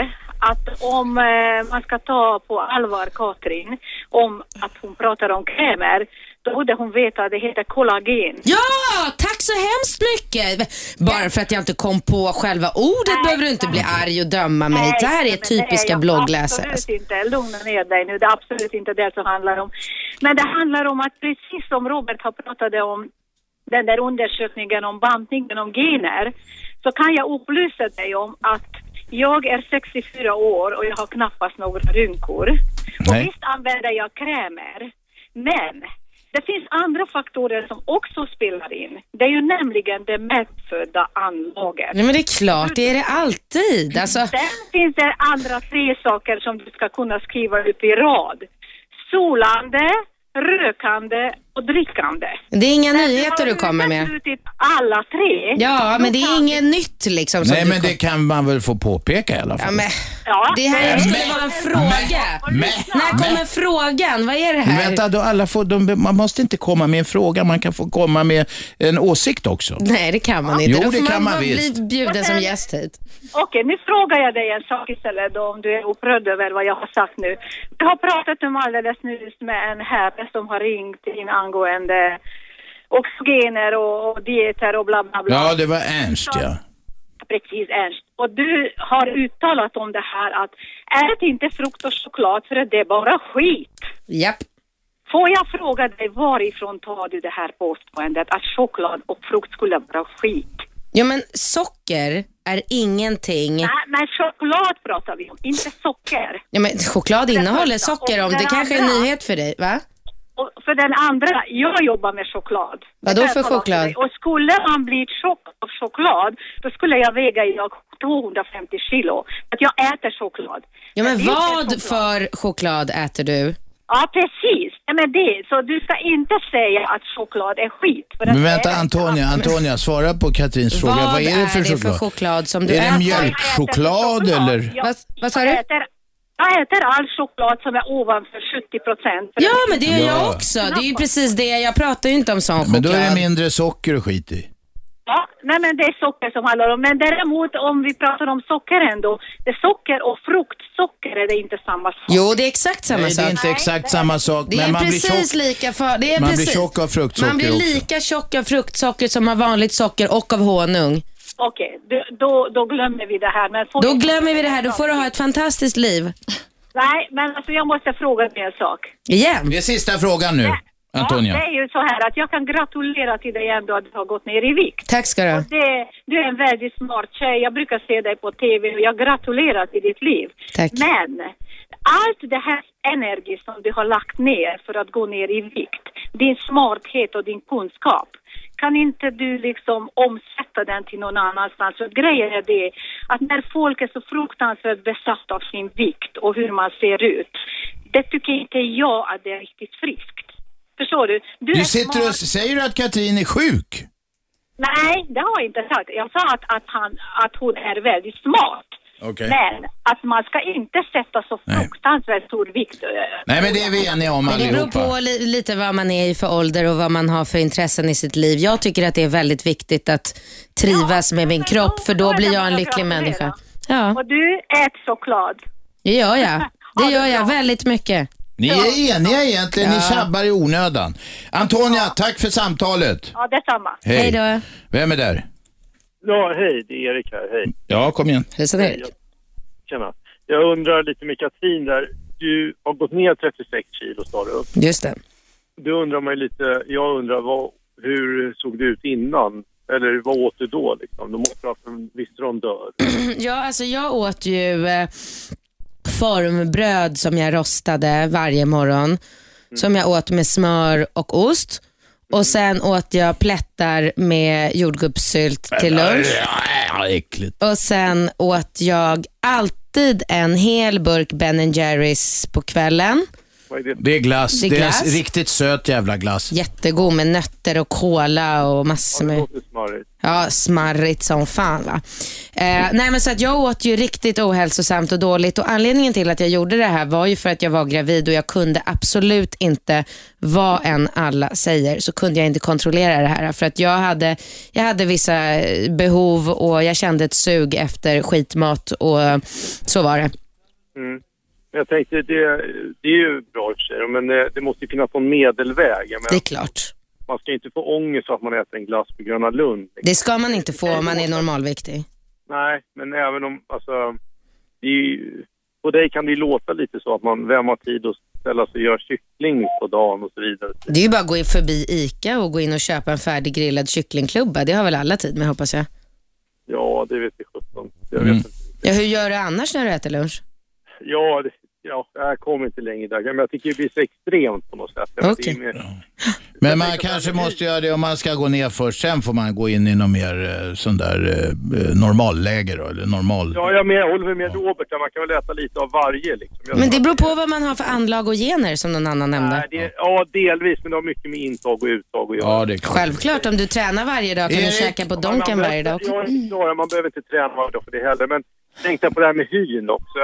I: att om eh, man ska ta på allvar Katrin om att hon pratar om krämer, då borde hon veta att det heter kollagen.
C: Ja, tack så hemskt mycket. Bara för att jag inte kom på själva ordet behöver du inte bli arg och döma mig. det här är
I: men det
C: typiska
I: jag
C: bloggläsare.
I: Absolut inte. Lugna ner dig nu. Det är absolut inte det som handlar om. Men det handlar om att precis som Robert har pratat om den där undersökningen om bantningen om gener så kan jag upplysa dig om att jag är 64 år och jag har knappast några rynkor. Och
B: Nej.
I: visst använder jag krämer, men det finns andra faktorer som också spelar in. Det är ju nämligen det medfödda anlaget.
C: Nej men det är klart, det är det
I: Mm.
C: alltid. Alltså,
I: Sen finns det andra tre saker som du ska kunna skriva ut i rad. Solande, rökande och drickande.
C: det är inga
I: Har
C: nyheter du kommer med.
I: uteslutit alla tre?
C: Ja, men det
I: Då
C: är
I: kan-
C: inget nytt liksom. Som
B: Nej,
C: du
B: men
C: kom-
B: det kan man väl få påpeka i alla
C: Ja,
B: fall.
C: men,
I: Ja,
C: det här
I: men-
C: skulle vara en fråga.
B: Men,
C: När
B: men,
C: kommer frågan? Vad är det
B: men,
C: här?
B: vänta, då alla får, de, man måste inte komma med en fråga, man kan få komma med en åsikt också.
C: Nej, det kan man inte.
B: Jo,
C: Då
B: det
C: får
B: kan man
C: bara
B: visst.
C: bli bjuden som gäst hit.
I: Okej, nu frågar jag dig en sak istället då, om du är upprörd över vad jag har sagt nu. Jag har pratat om alldeles nyss med en herre som har ringt in angående oxygener och, och dieter och bla bla bla.
B: Ja, det var Ernst ja.
I: Precis, Ernst. Och du har uttalat om det här att ät inte frukt och choklad för att det är bara skit.
C: Japp.
I: Får jag fråga dig varifrån tar du det här påståendet att choklad och frukt skulle vara skit?
C: Ja, men socker är ingenting.
I: Nej, men choklad pratar vi om, inte socker.
C: Mm. Ja, men choklad innehåller
I: första.
C: socker om.
I: Och
C: Det
I: den
C: kanske är en
I: andra.
C: nyhet för dig, va?
I: Och för den andra, jag jobbar med choklad.
C: Vadå
I: Det kan jag
C: för
I: tala om
C: choklad?
I: dig. Och skulle man bli tjock av choklad, då skulle jag väga idag 250 kilo. För att jag äter choklad.
C: Ja, men
I: det är inte
C: vad
I: choklad.
C: för choklad äter du?
I: Ja, precis. Ja, men det. Så du ska inte säga att choklad är skit. För att
B: Men vänta
I: det är-
B: Antonia, Antonia, svara på Katrins fråga. Vad är det för choklad?
C: choklad som du
B: Är det
C: äter?
I: Jag
B: mjölk?
I: äter
B: choklad, eller?
I: Jag,
C: Vad- vad sa
I: jag
C: du?
I: Äter, jag Jag äter all choklad som är ovanför 70 procent.
C: Ja, men det gör jag
B: Ja.
C: också. Det är ju precis det. Jag pratar ju inte om sån
B: Men då är det
C: choklad.
B: mindre socker och skit i.
I: Ja, nej men det är socker som handlar om. Men däremot om vi pratar om socker ändå. Det socker och fruktsocker är det inte samma sak.
C: Jo, det är exakt samma
B: Nej, det
C: sak.
B: är inte exakt samma sak.
C: Det är
B: men man blir
C: precis
B: tjock.
C: lika för... Det är
B: Man blir
C: precis.
B: tjock av fruktsocker
C: Man blir
B: också.
C: lika tjock av fruktsocker som av vanligt socker och av honung.
I: Okej, då- då, då glömmer vi det här. Men får
C: Då
I: jag-
C: glömmer vi det här. Då får du ha ett fantastiskt liv.
I: Nej, men alltså jag måste fråga dig en sak.
C: Igen.
B: Det är sista frågan nu, Antonia.
I: Ja, det är ju så här att jag kan gratulera till dig ändå att du har gått ner i vikt.
C: Tack ska du ha.
I: Det, du är en väldigt smart tjej. Jag brukar se dig på TV och jag gratulerar till ditt liv.
C: Tack.
I: Men allt det här energi som du har lagt ner för att gå ner i vikt, din smarthet och din kunskap, kan inte du liksom omsätta den till någon annanstans? För grejen är det att när folk är så fruktansvärt besatta av sin vikt och hur man ser ut, det tycker inte jag att det är riktigt friskt. Förstår du? är
B: Du sitter och
I: smart.
B: säger du att Katrin är sjuk?
I: Nej, det har jag inte sagt. Jag sa att, att, han, att hon är väldigt smart.
B: Okej.
I: Men att man ska inte sätta så
B: Nej.
I: fruktansvärt stor vikt. eh,
B: Nej, men det är vi eniga om
C: Det beror på
B: allihopa.
C: li- lite vad man är i för ålder och vad man har för intressen i sitt liv. Jag tycker att det är väldigt viktigt att trivas med min
I: men
C: kropp
I: då-
C: för
I: då
C: då
I: är
C: blir
I: det
C: jag en
I: bara
C: lycklig
I: att gratulera.
C: människa. Ja,
I: Och du ät choklad.
C: det gör jag. Det
I: Ja, det är
C: gör jag
I: bra.
C: väldigt mycket.
B: Ni är eniga egentligen, ni
C: Ja.
B: tjabbar i onödan. Antonia, tack för samtalet.
I: Ja, detsamma.
C: Hej då.
B: Vem är där?
J: Ja, hej, det är Erik här. Hej.
B: Ja, kom igen.
C: Hejsan Erik.
J: Tjena. Jag undrar lite med Katrin där. Du har gått ner 36 kilo sa du.
C: Just det.
J: Du undrar mig lite, jag undrar vad, hur såg det ut innan? Eller vad åt du då liksom? Du måste ha haft en viss rondör.
C: Ja, alltså jag åt ju eh, formbröd som jag rostade varje morgon.
B: Mm.
C: Som jag åt med smör och ost.
B: Mm.
C: Och sen åt jag plättar med jordgubbssylt till lunch.
B: Ja, äckligt.
C: Och sen åt jag alltid en hel burk Ben Jerrys på kvällen.
J: Vad är det?
B: Det är glass.
C: Det
B: Det
C: är
B: är,
C: glass.
B: riktigt söt jävla glass.
C: Jättegod med nötter och kola och massor
J: Ja, det
C: med...
J: låter smarrigt.
C: Ja, smarrigt som fan va. Eh, nej men så att jag åt ju riktigt ohälsosamt och dåligt och anledningen till att jag gjorde det här var ju för att jag var gravid och jag kunde absolut inte, vad än alla säger, så kunde jag inte kontrollera det här. För att jag hade, jag hade vissa eh, behov och jag kände ett sug efter skitmat och eh, så var det.
J: Men Mm. jag tänkte, det, det är ju bra i och för sig, men eh, det måste ju finnas någon medelväg. Jag
C: Det är
J: menar,
C: klart.
J: man ska ju inte få ångest av att man äter en glass på Gröna Lund.
C: Det ska man inte få om man är normalviktig.
J: Nej, men även om, alltså, det är ju, på dig kan det ju låta lite så att man, vem har tid att ställa sig och göra kyckling på dagen och så vidare.
C: Det är ju bara att gå in förbi ICA och gå in och köpa en färdiggrillad kycklingklubba. Det har väl alla tid med hoppas jag.
J: Ja, det vet jag sjutton. Jag vet
B: Mm.
J: inte.
C: Ja, hur gör du annars när du äter lunch?
J: Ja, det, ja, jag kommer inte längre där. Men jag tycker det blir så extremt på något sätt. Jag vet, det är
C: Okej.
J: mer-
B: Men man kanske måste göra det om man ska gå ner först. Sen får man gå in i någon mer eh, sån där eh, normalläge då, eller normal...
J: Ja, jag, men jag håller med Robert där. Man kan väl äta lite av varje liksom. Jag,
C: Men det beror på vad man har för anlag och gener som någon annan nämnde.
J: Nej, det, ja, delvis, men det har mycket med intag och uttag att göra.
B: Ja, det är klart.
C: Självklart, om du tränar varje dag kan du
B: Erik,
C: käka på
J: Man-
C: Donken
J: man
C: varje dag. Mm.
J: behöver- Jag är inte klar, man behöver inte träna varje dag för det heller. Men tänkte jag på det här med hyn också.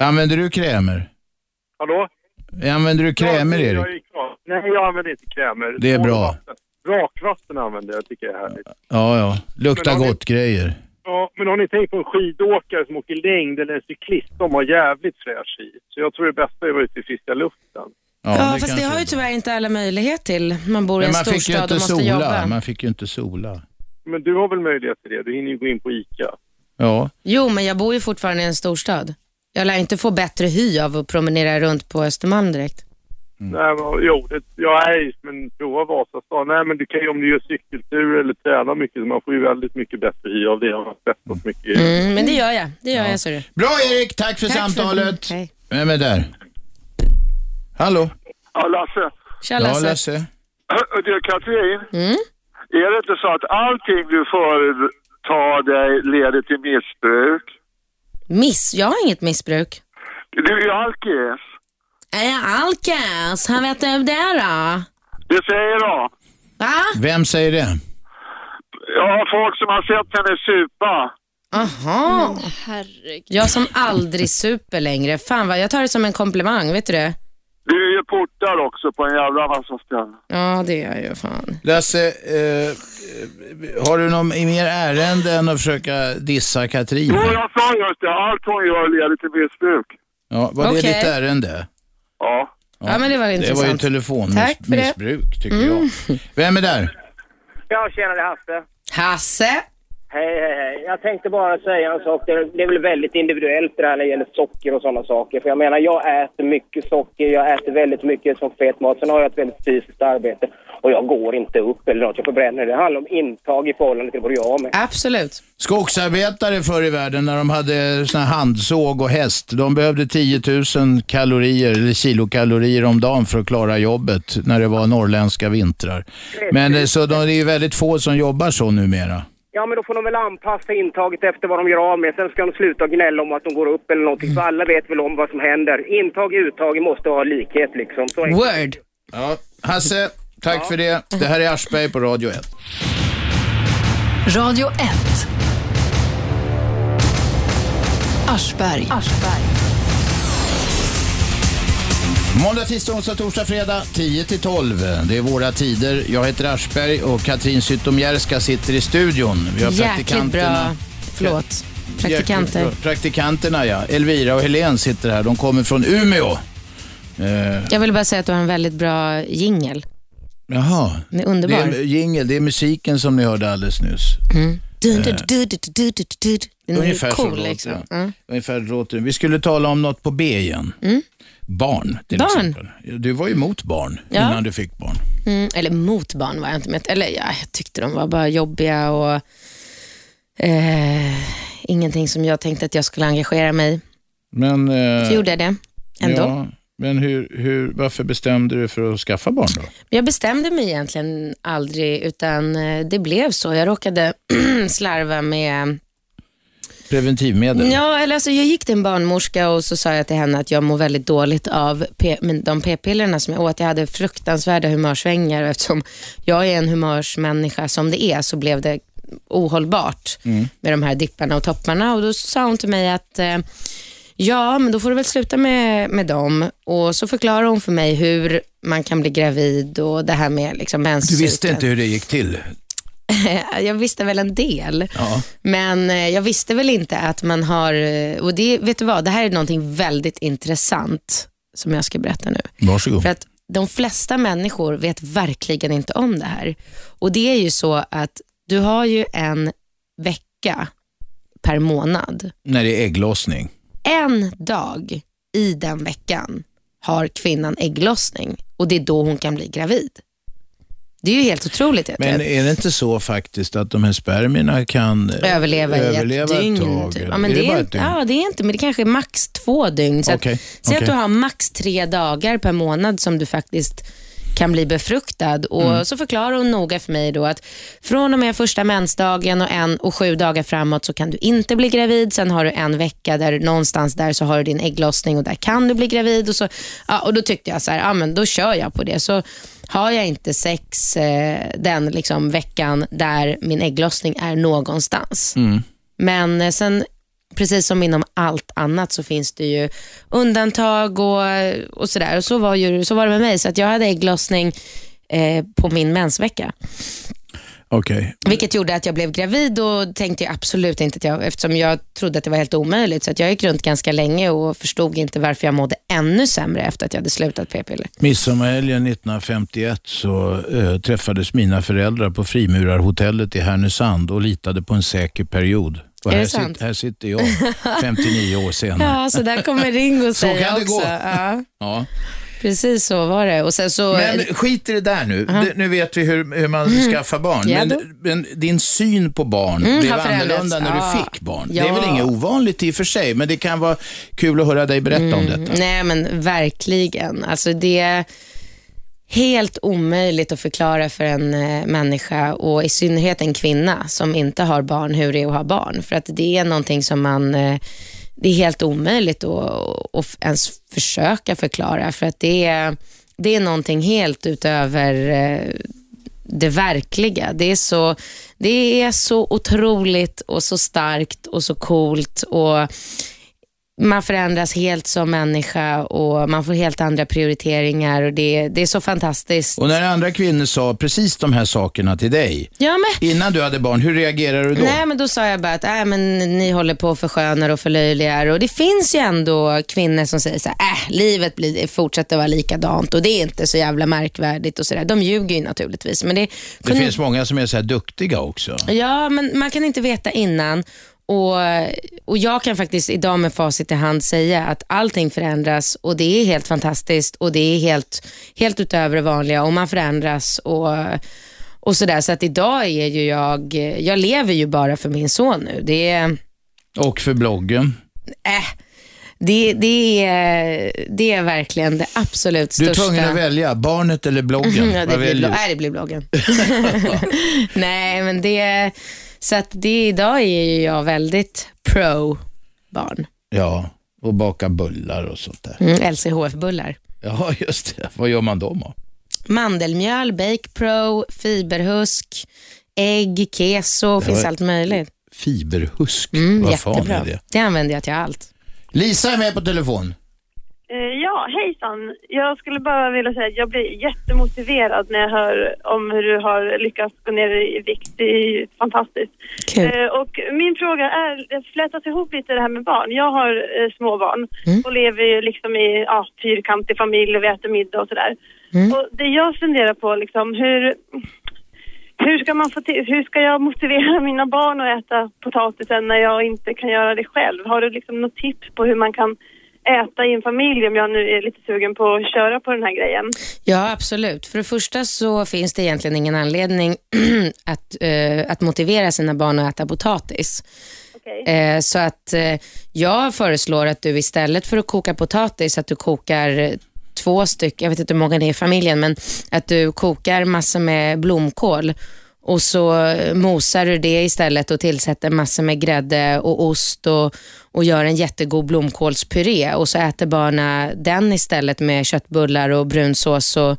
B: Använder du krämer?
J: Hallå?
B: Använder du krämer,
J: Ja, jag
B: Erik?
J: är ju klar. Nej, jag använder inte krämer.
B: Det är bra.
J: Rakvatten. Rakvatten använder jag, tycker jag är härligt.
B: Ja, ja. Luktar
J: Men har ni-
B: gott-grejer.
J: Ja, men har ni tänkt på en skidåkare som åker längd eller en cyklist? De har jävligt fräsch hy. Så jag tror det bästa är att vara ute i friska luften.
C: Ja, fast det
B: kanske
C: har
B: är
C: ju
B: bra.
C: tyvärr inte alla möjlighet till. Man bor i
B: Men
C: en
B: man fick ju
C: storstad och
B: inte
C: måste
B: sola.
C: jobba.
B: Man fick ju inte sola.
J: Men du har väl möjlighet till det? Du hinner ju gå in på ICA.
B: Ja.
C: Jo, men jag bor ju fortfarande i en storstad. Jag lär inte få bättre hy av att promenera runt på Östermalm direkt.
B: Mm.
J: Nej, men, jo, det, ja, nej, men prova Vasastan. Nej, men du kan ju om du gör cykelturer eller tränar mycket, så man får ju väldigt mycket bättre hy av det. Jag har svettats mycket.
C: Mm, men det gör jag. Det gör jag, så du.
B: Bra Erik, tack för
C: Tack för-
B: samtalet.
C: Hej.
B: Vem är där? Hallå?
E: Ja, Lasse.
C: Tja,
B: Ja,
C: Lasse.
B: Lasse.
E: Du, Katrin. Är det inte så att allting du företar dig leder till missbruk?
C: Miss? Jag har inget missbruk.
E: Du är ju alkis.
C: Är jag alkis? Hur Äh, vet du det då?
E: Det säger de.
C: Va?
B: Vem säger det?
E: Jag har folk som har sett henne supa.
C: Aha.
K: Men herregud.
C: Jag som aldrig super längre. Fan vad, jag tar det som en komplimang, vet du det?
J: Du är ju portad också på en jävla massa ställen.
C: Ja, det är jag ju. Fan.
B: Lasse, eh, har du någon mer ärende än att försöka dissa Katrin?
J: Jo, jag sa just det. Allt hon gör leder till missbruk.
B: Ja, var det
J: Okej.
B: ditt ärende?
J: Ja.
C: Ja, men det var
B: Det var ju
C: intressant. Tack för det.
B: telefonmissbruk, tycker
C: Mm.
B: jag. Vem är där?
L: Ja, tjena det är Hasse.
C: Hasse?
L: Hej, hej, hej. Jag tänkte bara säga en sak. Det är, det är väl väldigt individuellt det här när det gäller socker och sådana saker. För jag menar, jag äter mycket socker, jag äter väldigt mycket som fet mat. Sen har jag ett väldigt fysiskt arbete och jag går inte upp eller något. Jag förbränner. Det handlar om intag i förhållande till vad du gör av med.
C: Absolut.
B: Skogsarbetare förr i världen när de hade såna här handsåg och häst, de behövde 10 000 kalorier, eller kilokalorier om dagen för att klara jobbet när det var norrländska vintrar. Men eh, så de, det är ju väldigt få som jobbar så numera.
L: Ja, men då får de väl anpassa intaget efter vad de gör av med. Sen ska de sluta gnälla om att de går upp eller någonting. För alla vet väl om vad som händer. Intag och uttag måste ha likhet liksom. Så enkelt.
B: Ja, Hasse, tack för det. Det här är Aschberg på Radio 1.
M: Radio 1. Aschberg.
B: Måndag, tisdag, onsdag, torsdag, fredag 10 till 12. Det är våra tider. Jag heter Aschberg och Katrin Zytomierska sitter i studion. Vi har
C: Jäkligt bra.
B: praktikanterna.
C: Förlåt.
B: Jäkligt
C: Praktikanter.
B: bra. Praktikanterna, ja. Elvira och Helen sitter här. De kommer från Umeå. Eh,
C: Jag vill bara säga att du har en väldigt bra jingel.
B: jaha.
C: Den är underbar.
B: Det är jingel, det är musiken som ni hörde alldeles nyss.
C: Mm. Du, du,
B: Eh,
C: du, du, du, du, du. Den är
B: Ungefär
C: ju
B: så
C: cool
B: låter det.
C: liksom. Mm.
B: Ungefär låter det. Vi skulle tala om något på B igen. Barn, till
C: Barn.
B: exempel. Du var ju emot barn
C: Ja.
B: innan du fick barn.
C: Mm, eller mot barn var jag inte med. Eller ja, jag tyckte de var bara jobbiga och eh, ingenting som jag tänkte att jag skulle engagera mig i.
B: Men, eh,
C: Så gjorde jag det ändå.
B: Ja, men hur, hur, varför bestämde du för att skaffa barn då?
C: Men Jag bestämde mig egentligen aldrig, utan eh, det blev så. Jag råkade slarva med
B: Preventivmedel?
C: Ja, eller alltså jag gick till en barnmorska och så sa jag till henne att jag mår väldigt dåligt av p- men de p-pillerna som jag åt. Jag hade fruktansvärda humörsvängningar och eftersom jag är en humörsmänniska som det är så blev det ohållbart
N: Mm.
C: med de här dipparna och topparna. Och Då sa hon till mig att eh, ja, men då får du väl sluta med, med dem. Och Så förklarade hon för mig hur man kan bli gravid och det här med liksom
B: Du
C: menscykeln.
B: visste inte hur det gick till?
C: jag visste väl en del.
B: Ja.
C: Men eh, jag visste väl inte att man har, eh, och det, vet du vad, det här är någonting väldigt intressant som jag ska berätta nu.
B: Varsågod.
C: För att de flesta människor vet verkligen inte om det här. Och det är ju så att du har ju en vecka per månad.
B: När det är ägglossning?
C: En dag i den veckan har kvinnan ägglossning och det är då hon kan bli gravid. Det är ju helt otroligt. egentligen.
B: Men är det inte så faktiskt att de här spermierna kan eh,
C: överleva,
B: överleva
C: i ett dygn.
B: tag?
C: typ. Ja, men det är,
B: bara
C: inte-
B: ett dygn?
C: ja, det är inte, men det kanske är max två dygn. Så
B: Okej,
C: att, säg
B: okej.
C: att du har max tre dagar per månad som du faktiskt kan bli befruktad. Och
N: Mm.
C: Så förklarar hon noga för mig då att från och med första mensdagen och en och sju dagar framåt så kan du inte bli gravid. Sen har du en vecka där någonstans där så har du din ägglossning och där kan du bli gravid. Och, så, ja, och Då tyckte jag så här, ja, men då kör jag på det. Så har jag inte sex eh, den liksom veckan där min ägglossning är någonstans.
N: Mm.
C: Men eh, sen, precis som inom allt annat så finns det ju undantag och, och sådär. Och så var, ju, så var det med mig, så att jag hade ägglossning eh, på min mensvecka.
B: Okej.
C: Vilket gjorde att jag blev gravid och tänkte jag absolut inte att jag, eftersom jag trodde att det var helt omöjligt. Så att jag gick runt ganska länge och förstod inte varför jag mådde ännu sämre efter att jag hade slutat p-piller.
B: Midsommarhelgen 1951 så eh, träffades mina föräldrar på Frimurarhotellet i Härnösand och litade på en säker period. Och
C: Är det
B: här,
C: sant?
B: här sitter jag 59 år senare.
C: Ja, så där kommer Ringo
B: Så
C: säga
B: kan det
C: också.
B: gå.
C: Ja,
B: Ja.
C: precis så var det. Och sen så,
B: Men skit i det där nu.
C: Aha.
B: Det, nu vet vi hur, hur man
C: Mm.
B: skaffar barn.
C: Ja, då.
B: men, men din syn på barn
C: Mm,
B: blev
C: har förändrats.
B: annorlunda när du
C: Ja.
B: fick barn. Det
C: Ja.
B: är väl inget ovanligt i och för sig, men det kan vara kul att höra dig berätta om detta.
C: Nej, men verkligen. Alltså det är helt omöjligt att förklara för en eh, människa och i synnerhet en kvinna som inte har barn hur det är att ha barn. För att det är någonting som man eh, det är helt omöjligt att, att ens försöka förklara för att det är, det är någonting helt utöver eh, det verkliga. Det är, så, det är så otroligt och så starkt och så coolt. Och man förändras helt som människa och man får helt andra prioriteringar. Och det, det är så fantastiskt.
B: Och när andra kvinnor sa precis de här sakerna till dig,
C: Ja, men
B: innan du hade barn, hur reagerade du då?
C: Nej, men då sa jag bara att äh, men ni håller på och förskönar och förlöjligar. Och det finns ju ändå kvinnor som säger så här, äh, livet blir, fortsätter vara likadant och det är inte så jävla märkvärdigt och sådär. De ljuger ju naturligtvis. Men det,
B: Det finns många som är så här duktiga också.
C: Ja, men man kan inte veta innan. Och, och Jag kan faktiskt idag med facit i hand säga att allting förändras och det är helt fantastiskt och det är helt, helt utöver det vanliga och man förändras och, och sådär. Så att idag är ju jag, jag lever ju bara för min son nu. Det är,
B: Och för bloggen.
C: det, det är, det är verkligen det absolut
B: Du
C: största.
B: är tvungen att välja, barnet eller bloggen.
C: Ja, det, blir
B: Vad väljer
C: blogg,
B: du?
C: nej, det blir bloggen. nej, men det... Så att det idag är ju jag väldigt pro-barn.
B: Ja, och baka bullar och sånt där.
C: Mm, LCHF-bullar.
B: Ja, just det. Vad gör man då? då?
C: Mandelmjöl, Bake Pro, fiberhusk, ägg, keso,
B: Det
C: finns
B: var-
C: allt möjligt.
B: Fiberhusk,
C: Mm,
B: vad fan
C: jättebra.
B: är
C: Det?
B: det?
C: använder jag till allt.
B: Lisa är med på telefon.
K: Eh, Ja, hejsan. Jag skulle bara vilja säga att jag blir jättemotiverad när jag hör om hur du har lyckats gå ner i vikt. Det är ju fantastiskt.
C: Kul.
K: Eh, Och min fråga är, det flätas ihop lite det här med barn. Jag har eh, små barn
C: Mm.
K: och lever ju liksom i ja, fyrkantig familj och vi äter middag och sådär.
C: Mm.
K: Och det jag funderar på liksom hur hur ska, man få till, hur ska jag motivera mina barn att äta potatisen när jag inte kan göra det själv? Har du liksom något tips på hur man kan äta i en familj om jag nu är lite sugen på att köra på den här grejen?
C: Ja, absolut. För det första så finns det egentligen ingen anledning att, eh, att motivera sina barn att äta potatis. Eh, så att eh, jag föreslår att du istället för att koka potatis, att du kokar eh, två stycken, jag vet inte hur många det är i familjen, men att du kokar massor med blomkål och så eh, mosar du det istället och tillsätter massor med grädde och ost och, och gör en jättegod blomkålspuré och så äter barna den istället med köttbullar och brunsås och,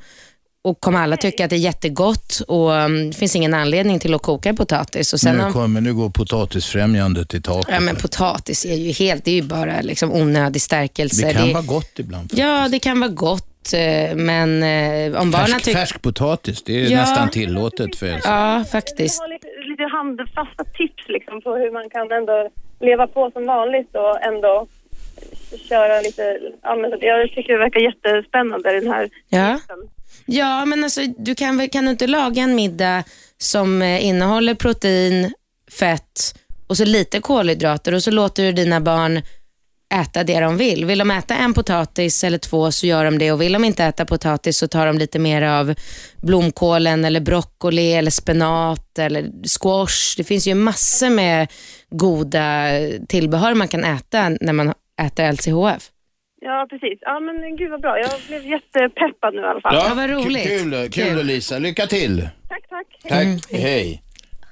C: och kommer alla tycka att det är jättegott och um, det finns ingen anledning till att koka potatis. Och sen
B: nu,
C: om-
B: kommer, nu går potatisfrämjandet i taket.
C: Ja, men potatis är ju helt, det är ju bara liksom onödig stärkelse.
B: det kan
C: är-
B: vara gott ibland.
C: Ja, det kan vara gott, eh, men eh, om barnen
B: Färsk,
C: tycker...
B: färsk potatis, det är
C: Ja.
B: nästan tillåtet för
C: Ja, faktiskt.
K: Jag vill ha lite, lite handfasta tips liksom på hur man kan ändå leva på som vanligt och ändå köra lite, ja, men jag tycker det verkar jättespännande den här
C: Ja. Ja, men alltså, du kan, väl- kan du inte laga en middag som eh, innehåller protein, fett och så lite kolhydrater och så låter du dina barn äta det de vill. Vill de äta en potatis eller två så gör de det och vill de inte äta potatis så tar de lite mer av blomkålen eller broccoli eller spenat eller squash. Det finns ju massor med goda tillbehör man kan äta när man äter LCHF.
K: Ja, precis. Ja, men gud vad bra. Jag blev jättepeppad nu i alla fall.
B: Kul, kul, kul Lisa. Lycka till.
K: Tack, tack.
B: Tack, hej.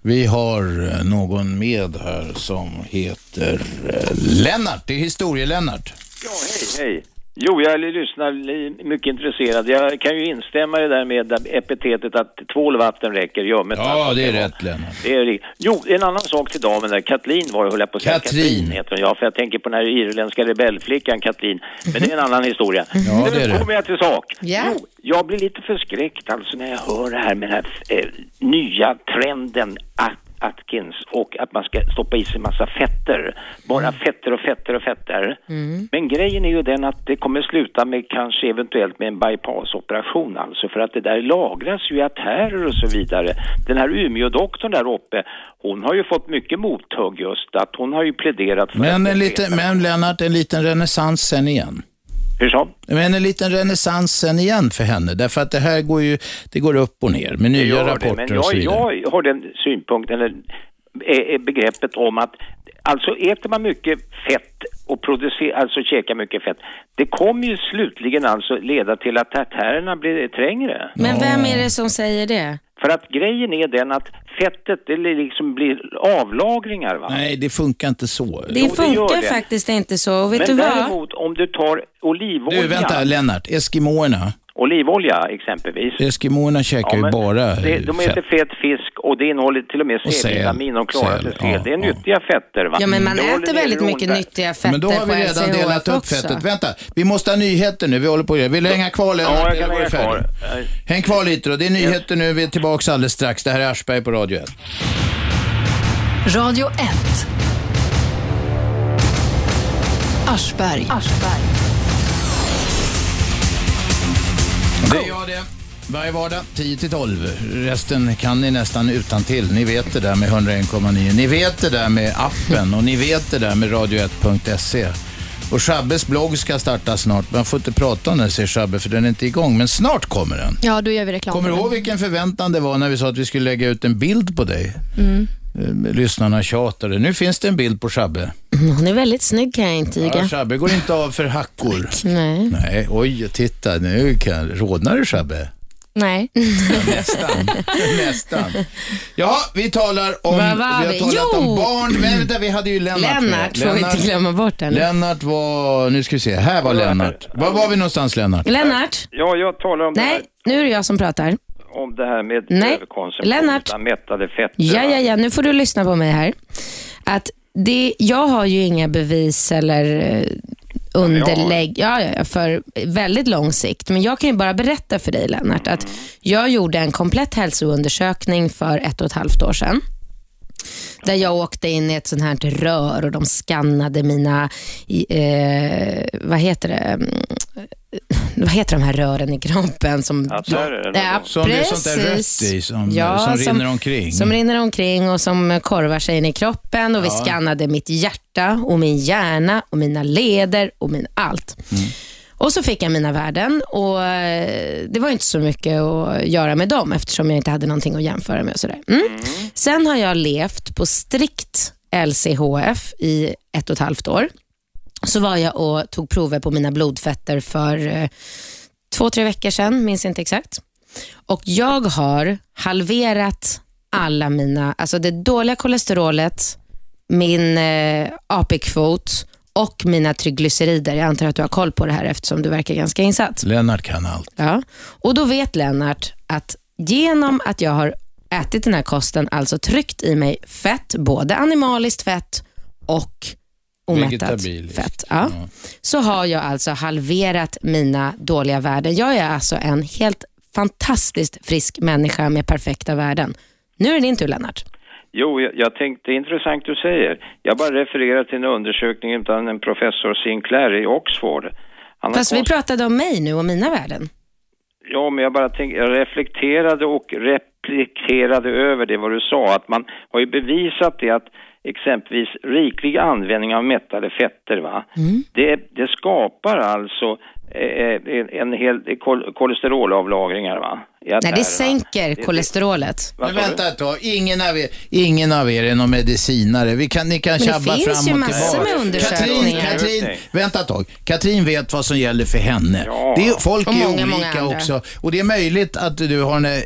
B: Vi har eh, någon med här som heter eh, Lennart. Det är historie-Lennart.
N: Hej, hej. Jo, jag lyssnar li- mycket intresserad. Jag kan ju instämma i det där med epitetet att tvål och vatten räcker. Ja, men
B: Ja, det är rätt Lennart.
N: Det är riktigt. Jo, en annan sak till damen där. Katlin var det, höll jag på att säga.
B: Katrin.
N: heter hon, ja. För jag tänker på den här irländska rebellflickan Katlin. Men det är en annan historia.
B: Mhm. Ja, det är
N: Nu
B: det.
N: kommer jag till sak.
C: Ja.
N: Jo, jag blir lite förskräckt alltså när jag hör det här med den här eh, nya trenden att Atkins och att man ska stoppa i sig massa fetter. Bara
B: Mm.
N: fetter och fetter och fetter. Men grejen är ju den att det kommer sluta med kanske eventuellt med en bypassoperation alltså för att det där lagras ju i artärer och så vidare. Den här Umeådoktorn där uppe, hon har ju fått mycket mothugg just att hon har ju pläderat för
B: Men,
N: att
B: en liten, men Lennart, en liten renässans sen igen.
N: Hur så?
B: Men en liten renässans sen igen för henne. Därför att det här går ju det går upp och ner med
N: Det
B: nya
N: gör det,
B: rapporter
N: men
B: och så
N: jag,
B: vidare.
N: jag har den synpunkten, eller eh, eh, begreppet om att alltså äter man mycket fett och producerar, alltså käkar mycket fett, det kommer ju slutligen alltså leda till att artärerna blir trängre.
C: Men vem är det som säger det?
N: För att grejen är den att fettet, det liksom blir avlagringar va?
B: Nej, det funkar inte så.
C: Det funkar faktiskt inte så. Och vet
N: men
C: du vad?
N: däremot om du tar olivolja
B: Du, vänta Lennart. Eskimoerna.
N: och olivolja exempelvis.
B: Eskimoerna käkar
N: Ja,
B: ju
N: men
B: bara
N: det, de
B: fett.
N: äter fet fisk och det innehåller till och med
B: Och säl.
N: C-vitamin och klorat
B: Säl,
N: och säl. Det är nyttiga fetter. Va?
C: Ja, men man
N: Det håller
C: äter
N: nere
C: väldigt mycket
N: rondar.
C: nyttiga fetter
B: Men då har vi
C: på
B: redan
C: LCHF
B: delat upp
C: också.
B: fettet. Vänta, vi måste ha nyheter nu. Vi håller på att göra. Vill du hänga kvar Lennart?
N: Ja, jag
B: eller
N: kan
B: var du
N: hänga
B: färdig?
N: kvar.
B: Häng kvar lite då. Det är nyheter nu. Vi är tillbaka alldeles strax. Det här är Aschberg på Radio 1.
M: Radio 1. Aschberg.
B: Det är jag det. Varje vardag 10 till 12. Resten kan ni nästan utan till. Ni vet det där med 101,9. Ni vet det där med appen och ni vet det där med radio1.se. E. Och Shabbes blogg ska starta snart. Man får inte prata om den säger Shabbe för den är inte igång. Men snart kommer den.
A: Ja, då gör vi reklam.
B: Kommer du
A: för den.
B: ihåg vilken förväntan det var när vi sa att vi skulle lägga ut en bild på dig?
A: Mm.
B: Eh, Lyssnarna tjatade. Nu finns det en bild på Shabbe.
C: Hon är väldigt snygg kan jag intyga.
B: Ja, Shabbe går inte av för hackor.
C: Nej.
B: Nej, oj, titta nu kan... rodnar du Shabbe?
A: Nej.
B: Nästan. Nästan. Ja, vi talar
C: Vad
B: om,
C: var
B: vi har
C: vi?
B: talat om
C: Jo!
B: barn. Men vänta, vi hade ju Lennart med.
C: Lennart får vi inte glömma bort henne.
B: Lennart var, nu ska vi se, här var Lennart. Var var vi någonstans Lennart?
C: Lennart?
N: Ja, jag talar om,
C: Nej, nu är det jag som pratar.
N: det, här, om det här med
C: Nej.
N: överkonsumtion
C: Lennart.
N: av mättade fetter.
C: Ja,
N: va?
C: ja, ja, nu får du lyssna på mig här. Att det, jag har ju inga bevis eller eh, underlägg ja, ja, ja, för väldigt lång sikt. Men jag kan ju bara berätta för dig Lennart att jag gjorde en komplett hälsoundersökning för ett och ett halvt år sedan. Där jag åkte in i ett sånt här rör och de skannade mina, i- eh, vad heter det, Mm, eh, vad heter de här rören i kroppen? Som,
B: Artärer eller
C: ja,
B: något. Som det är sånt där
C: precis.
B: rött i som- som rinner omkring.
C: Som rinner omkring och som eh, korvar sig in i kroppen och vi
B: Ja.
C: skannade mitt hjärta och min hjärna och mina leder och min allt. Och så fick jag mina värden och eh, det var ju inte så mycket att göra med dem eftersom jag inte hade någonting att jämföra med. Och sådär. Mm. Sen har jag levt på strikt LCHF i ett och ett halvt år. Så var jag och tog prover på mina blodfetter för eh, två, tre veckor sedan, minns inte exakt. Och jag har halverat alla mina, alltså det dåliga kolesterolet, min eh, AP-kvot och mina triglycerider. Jag antar att du har koll på det här eftersom du verkar ganska insatt.
B: Lennart kan allt.
C: Ja. Och då vet Lennart att genom att jag har ätit den här kosten, alltså tryckt i mig fett, både animaliskt fett och omättat
B: Vegetabiliskt.
C: fett. Ja. Så har jag alltså halverat mina dåliga värden. Jag är alltså en helt fantastiskt frisk människa med perfekta värden. Nu är det din tur Lennart.
N: Jo, jag, jag tänkte, det är intressant du säger. Jag bara refererar till en undersökning utan en professor Sinclair i Oxford. Han har
C: Fast vi
N: konst-
C: pratade om mig nu och mina värden.
N: Ja, men jag bara tänkte, jag reflekterade och replikerade över det vad du sa, att man har ju bevisat det att exempelvis riklig användning av mättade fetter, va?
C: Mm.
N: Det, det skapar alltså eh, en, en hel kol, kolesterolavlagringar, va? I
C: Nej,
N: artärerna.
C: det sänker
N: det-
C: kolesterolet.
B: Men vänta ett tag, ingen av er, ingen av er är någon medicinare. Vi kan, ni kan
C: Men det
B: tjabba fram och
C: finns
B: tillbaka.
C: ju massor med
B: Katrin,
C: undersökningar.
B: Katrin,
C: Just
B: vänta ett tag. Katrin vet vad som gäller för henne. Det är, folk
C: Och
B: är
C: många, många
B: olika
C: andra.
B: också. Och det är möjligt att du har den här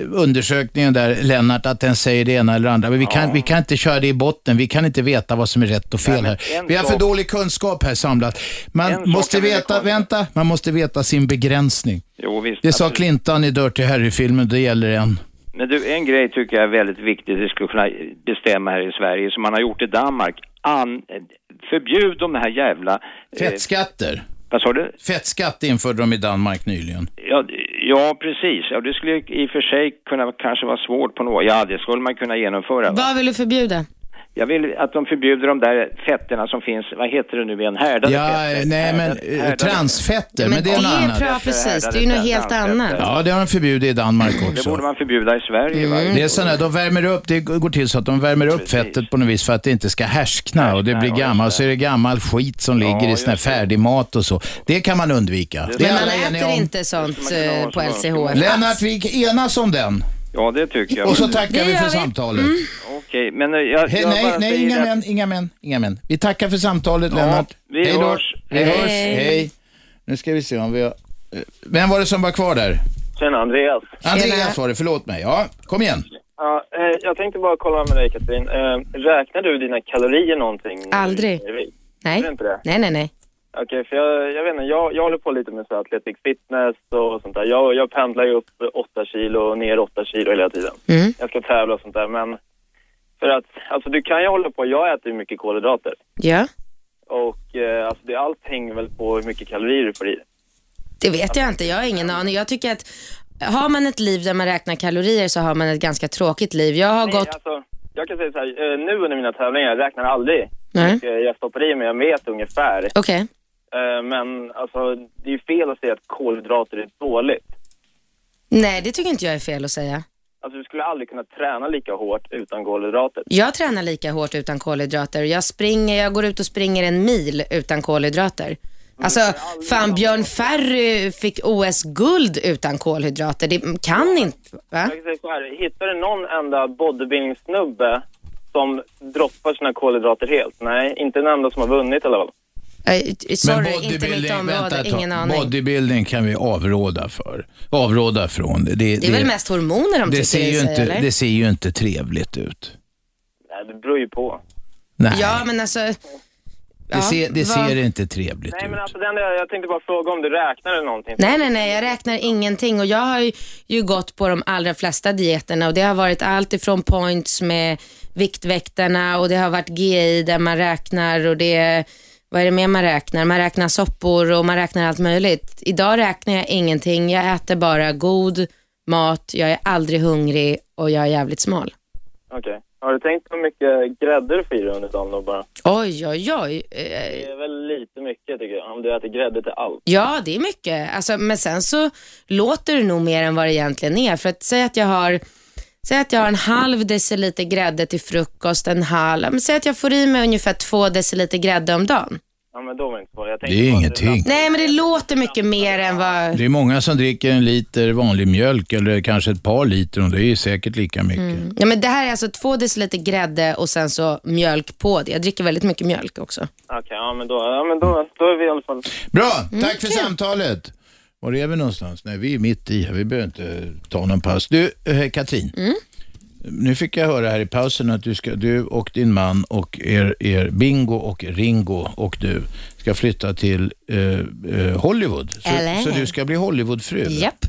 B: eh, undersökningen där, Lennart, att den säger det ena eller det andra. Men vi kan, vi kan inte köra det i botten. Vi kan inte veta vad som är rätt och fel här.
N: en
B: Vi har för
N: sak-
B: dålig kunskap här samlat. Man måste veta, vänta, man måste veta sin begränsning.
N: Jo, visst,
B: Det sa
N: absolut.
B: Clintan i Dirty Harry-filmen, det gäller en.
N: Men du, en grej tycker jag är väldigt viktig det skulle kunna bestämma här i Sverige som man har gjort i Danmark. An, förbjud de här jävla... eh,
B: Fettskatter.
N: Vad sa du?
B: Fettskatt införde de i Danmark nyligen.
N: Ja, ja, precis. Ja, det skulle ju i och för sig kunna kanske vara svårt på något. Ja, det skulle man kunna genomföra. Va?
C: Vad vill du förbjuda?
N: Jag vill att de förbjuder de där fetterna som finns, vad heter det nu igen, härdade
B: Ja,
N: fetter.
B: eh, nej men
N: Härdade-
B: eh,
N: härdade-
B: transfetter, men det är något annat.
C: bra, precis. Det är ju något helt annat.
B: Ja, det har de förbjudit i Danmark
N: Det
B: också.
N: borde man förbjuda i Sverige. va?
B: Det är sådana, de värmer upp, det går till så att de värmer upp fettet på något vis för att det inte ska härskna och det blir gammalt, så är det gammal skit som ligger i sån här färdig mat och så. Det kan man undvika. Det
C: Men
B: är
C: man
B: alla eniga
C: äter
B: om.
C: inte sånt eh, på LCHF.
B: Lennart, vi enas om den.
N: Ja, det Mm. tycker jag.
B: Och så tackar vi för samtalet.
N: Okej, men eh, jag,
B: Hej,
N: jag
B: nej,
N: bara
B: nej,
N: säger
B: inga
N: att-
B: män, inga män, inga män. Vi tackar för samtalet
N: Ja,
B: Lennart.
N: vi
B: Hej då.
N: hörs.
B: Vi
N: Hej.
B: hörs. Hej. Nu ska vi se om vi har... eh, Vem var det som var kvar där?
O: Tjena, Andreas.
B: Andreas var det, förlåt mig. Ja, kom igen.
O: Ja, eh, jag tänkte bara kolla med dig, Katrin. Eh, räknar du dina kalorier någonting?
C: Aldrig.
O: Nej.
C: Nej.
O: Är det inte det?
C: nej, nej, nej.
O: Okej, för jag, jag vet inte, jag, jag håller på lite med så här athletic fitness och sånt där. Jag, jag pendlar ju upp 8 kilo och ner 8 kilo hela tiden.
C: Mm.
O: Jag ska tävla och sånt där, men för att, alltså du kan ju hålla på, jag äter ju mycket kolhydrater.
C: Ja,
O: Och eh, alltså det, allt hänger väl på hur mycket kalorier du får i dig.
C: det vet jag inte. Jag har ingen aning. Jag tycker att har man ett liv där man räknar kalorier så har man ett ganska tråkigt liv. Jag har
O: Nej,
C: gått...
O: alltså, jag kan säga så här, eh, nu under mina tävlingar, jag räknar aldrig.
C: Nej.
O: Och, eh, Jag stoppar i mig, jag vet ungefär.
C: Okej.
O: Eh, Men alltså, det är ju fel att säga att kolhydrater är dåligt.
C: Nej, det tycker inte jag är fel att säga.
O: Alltså, du skulle aldrig kunna träna lika hårt utan kolhydrater.
C: Jag tränar lika hårt utan kolhydrater. Jag, springer, jag går ut och springer en mil utan kolhydrater. Alltså, fan Björn Ferry fick OS-guld utan kolhydrater. Det kan inte, va?
O: Jag kan säga så här, hittar du någon enda bodybuilding-snubbe som droppar sina kolhydrater helt? Nej, inte en enda som har vunnit i alla fall.
C: Eh, Sorry, inte mitt
B: bodybuilding- vänta
C: område.
B: ett tag.
C: Ingen aning.
B: Bodybuilding kan vi avråda för. Avråda från. Det, det,
C: Det är väl mest hormoner de
B: det
C: tycker
B: ser ju
C: i sig,
B: inte,
C: eller?
B: Det ser ju inte trevligt ut.
O: Nej, det beror ju på.
B: Nej,
C: Ja, men alltså...
B: det, ser, det
C: vad-
B: ser inte trevligt
O: Nej, men alltså, det enda jag, jag tänkte bara fråga om du räknar eller någonting.
C: typ- Nej, nej, nej, jag räknar ingenting och jag har ju, ju gått på de allra flesta dieterna och det har varit allt ifrån points med Viktväktarna och det har varit GI där man räknar och det är, vad är det mer man räknar? Man räknar soppor och man räknar allt möjligt. Idag räknar jag ingenting, jag äter bara god mat, jag är aldrig hungrig och jag är jävligt smal.
O: Okej. Har du tänkt på hur mycket grädde du får i dig under dagen då bara?
C: Oj, oj, oj.
O: Det är väl lite mycket tycker jag, om du äter grädde till allt.
C: Ja, det är mycket. Alltså, men sen så låter det nog mer än vad det egentligen är. För att säg att jag har, säg att jag har en halv deciliter grädde till frukost, en halv, ja, men säg att jag får i mig ungefär två deciliter grädde om dagen.
O: Ja, men då var det inte så. Jag
B: Det är ju ingenting.
C: Nej, men det låter mycket mer än vad...
B: Det är många som dricker en liter vanlig mjölk eller kanske ett par liter och det är ju säkert lika mycket.
C: Mm. Ja, men det här är alltså två deciliter grädde och sen så mjölk på det. Jag dricker väldigt mycket mjölk också.
O: Okej, ja men, då, ja, men då, då är vi i alla fall...
B: Bra,
C: Mm,
B: tack för samtalet. Var är vi någonstans? Nej, vi är mitt i här. Vi behöver inte ta någon paus. Du, eh, Katrin.
C: Mm.
B: Nu fick jag höra här i pausen att du, ska, du och din man och er, er Bingo och Ringo och du ska flytta till eh, eh, Hollywood.
C: LA.
B: Så, så du ska bli Hollywoodfru.
C: Japp.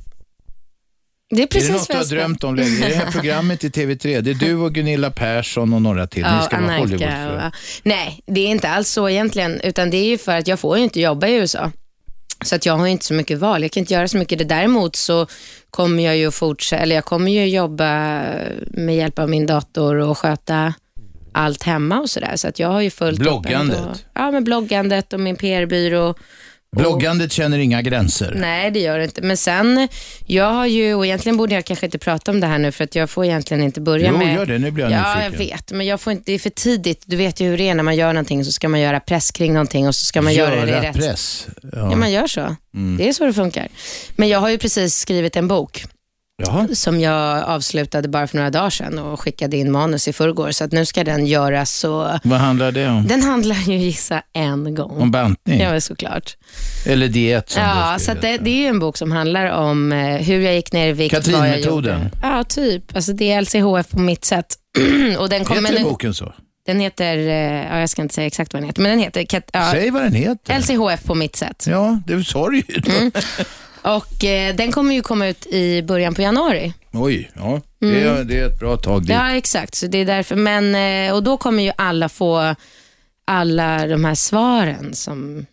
C: Det är precis
B: är det något
C: vad
B: du har
C: jag ska-
B: drömt om länge? Det är det här programmet i TV3. Det är du och Gunilla Persson och några till. Ni ska vara
C: Anarka
B: Hollywoodfru.
C: och- Nej, det är inte alls så egentligen, utan det är ju för att jag får ju inte jobba i USA. Så att jag har ju inte så mycket val, jag kan inte göra så mycket. Det däremot så kommer jag ju fortsätta, eller jag kommer ju jobba med hjälp av min dator och sköta allt hemma och sådär. Så att jag har ju fullt upp
B: Bloggandet.
C: ändå. Ja, med bloggandet och min PR-byrå.
B: Bloggandet känner inga gränser.
C: Nej, det gör det inte. Men sen, jag har ju, och egentligen borde jag kanske inte prata om det här nu för att jag får egentligen inte börja
B: Jo,
C: med...
B: gör det. Nu blir jag
C: ja,
B: nyfiken.
C: jag vet. Men jag får inte, det är för tidigt. Du vet ju hur det är när man gör någonting så ska man göra press kring någonting och så ska man göra det i rätt...
B: press.
C: Ja. man gör så.
B: Mm.
C: Det är så det funkar. Men jag har ju precis skrivit en bok
B: Jaha.
C: som jag avslutade bara för några dagar sedan och skickade in manus i förrgår. Så att nu ska den göras så...
B: Vad handlar det om?
C: Den handlar ju gissa en gång.
B: Mm. Om bantning?
C: Ja, men såklart.
B: Eller diet som
C: Ja, så
B: du skriver.
C: att det, det är ju en bok som handlar om eh, hur jag gick ner i vikt, vad jag
B: Katrinmetoden.
C: gjorde. Ja, typ. Alltså, det är LCHF på mitt sätt. och den kommer
B: Heter
C: nu-
B: boken så?
C: Den heter, eh, ja, jag ska inte säga exakt vad den heter, men den heter Kat- ja,
B: Säg vad den heter.
C: LCHF på mitt sätt.
B: Ja, det sa du ju.
C: Mm. Och eh, den kommer ju komma ut i början på januari.
B: Oj, ja. Det, är, det är ett bra tag dit.
C: Mm. Ja, exakt. Så det är därför. Men, eh, och då kommer ju alla få alla de här svaren som,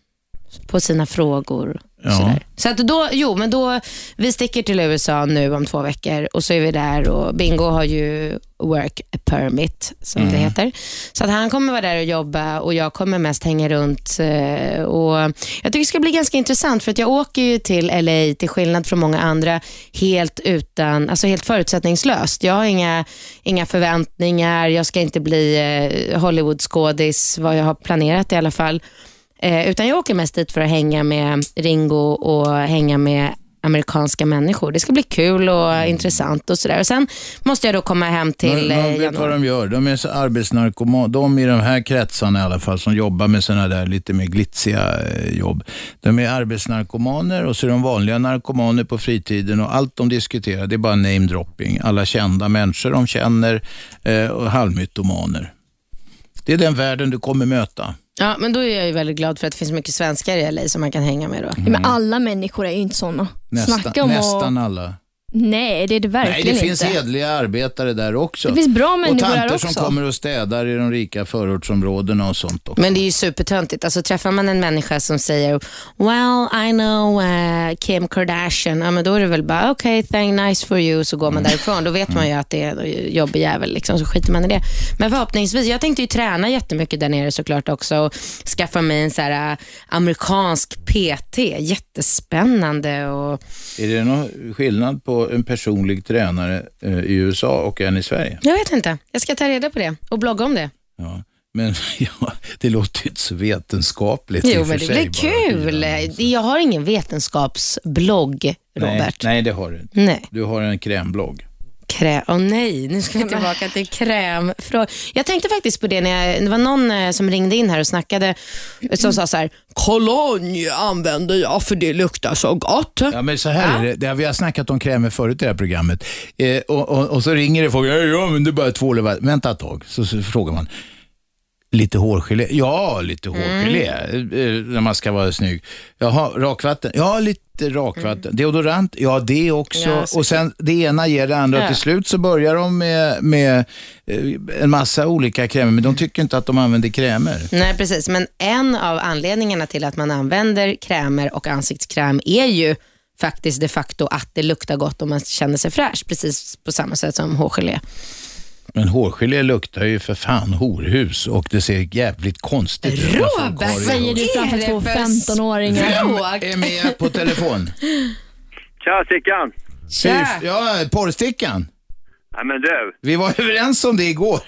C: på sina frågor.
B: Ja.
C: Så att då, jo, men då, vi sticker till USA nu om två veckor och så är vi där och Bingo har ju work permit, som det
P: Mm.
C: heter. Så att han kommer vara där och jobba och jag kommer mest hänga runt. eh, Och jag tycker det ska bli ganska intressant för att jag åker ju till LA, till skillnad från många andra, helt utan, alltså helt förutsättningslöst. Jag har inga, inga förväntningar, jag ska inte bli eh, Hollywoodskådis, vad jag har planerat i alla fall. Eh, utan jag åker mest dit för att hänga med Ringo och hänga med amerikanska människor. Det ska bli kul och
B: Mm.
C: intressant och sådär. Och sen måste jag då komma hem till
B: man,
C: eh,
B: man vet vad de gör. De är så arbetsnarkoman. De i de här kretsarna i alla fall, som jobbar med sådana där lite mer glitsiga eh, jobb. De är arbetsnarkomaner och så är de vanliga narkomaner på fritiden och allt de diskuterar, det är bara namedropping. Alla kända människor de känner eh, och halvmytomaner. Det är den världen du kommer möta.
C: Ja, men då är jag ju väldigt glad för att det finns mycket svenskar i LA som man kan hänga med då.
A: Ja, Mm. Men alla människor är ju inte sådana.
B: Nästan,
A: Snacka om att-
B: nästan alla.
A: Nej, det är det
B: Nej,
A: verkligen
B: det finns
A: inte.
B: hederliga arbetare där också.
A: Det finns bra människor
B: Och
A: där
B: tanter
A: också.
B: som kommer och städar i de rika förortsområdena och sånt också.
C: Men det är ju supertöntigt. Alltså, träffar man en människa som säger “Well, I know eh, Kim Kardashian”, ja, men då är det väl bara “Okay, thank nice for you” så går
B: Mm.
C: man därifrån. Då vet man ju att det är en jobbig jävel, liksom, så skiter man i det. Men förhoppningsvis, jag tänkte ju träna jättemycket där nere såklart också och skaffa mig en så här, eh, amerikansk PT. Jättespännande. Och...
B: Är det någon skillnad på en personlig tränare eh, i USA och en i Sverige?
C: Jag vet inte. Jag ska ta reda på det och blogga om det.
B: Men ja, det låter ju inte så vetenskapligt i
C: Jo,
B: och för
C: men det
B: sig
C: blir
B: bara.
C: kul. Jag har ingen vetenskapsblogg,
B: Nej,
C: Robert.
B: nej, det har du inte.
C: Nej.
B: Du har en krämblogg.
C: Krä- Åh nej, nu ska vi tillbaka till krämfrågan. Jag tänkte faktiskt på det när jag, det var någon eh, som ringde in här och snackade som sa så här, kologne använder jag för det luktar så gott.
B: Ja, men så här är det. det. Vi har snackat om krämer förut i det här programmet. Eh, och, och, och så ringer det folk. "Ja, Ja, men du bara tvål över." Vänta ett tag, så, så frågar man. Lite hårgelé? Ja, lite
P: Mm.
B: hårgelé. eh, När man ska vara snygg. Jaha, rakvatten? Ja, lite rakvatten. Deodorant? Ja, det också.
P: Mm. Ja, säkert.
B: och sen det ena ger det andra.
P: Ja.
B: Till slut så börjar de med, med eh, en massa olika krämer, men de tycker inte att de använder krämer.
C: Nej, precis. Men en av anledningarna till att man använder krämer och ansiktskräm är ju faktiskt de facto att det luktar gott och man känner sig fräsch, precis på samma sätt som hårgelé.
B: Men hårgelé luktar ju för fan horhus och det ser jävligt konstigt ut. när folk har det i
A: Säger du
B: håret.
A: framför två 15-åringar.
B: Vem är med på telefon?
Q: Tja Sickan!
B: Tja! Ja, porrstickan.
Q: Nej men du,
B: Vi var överens om det igår.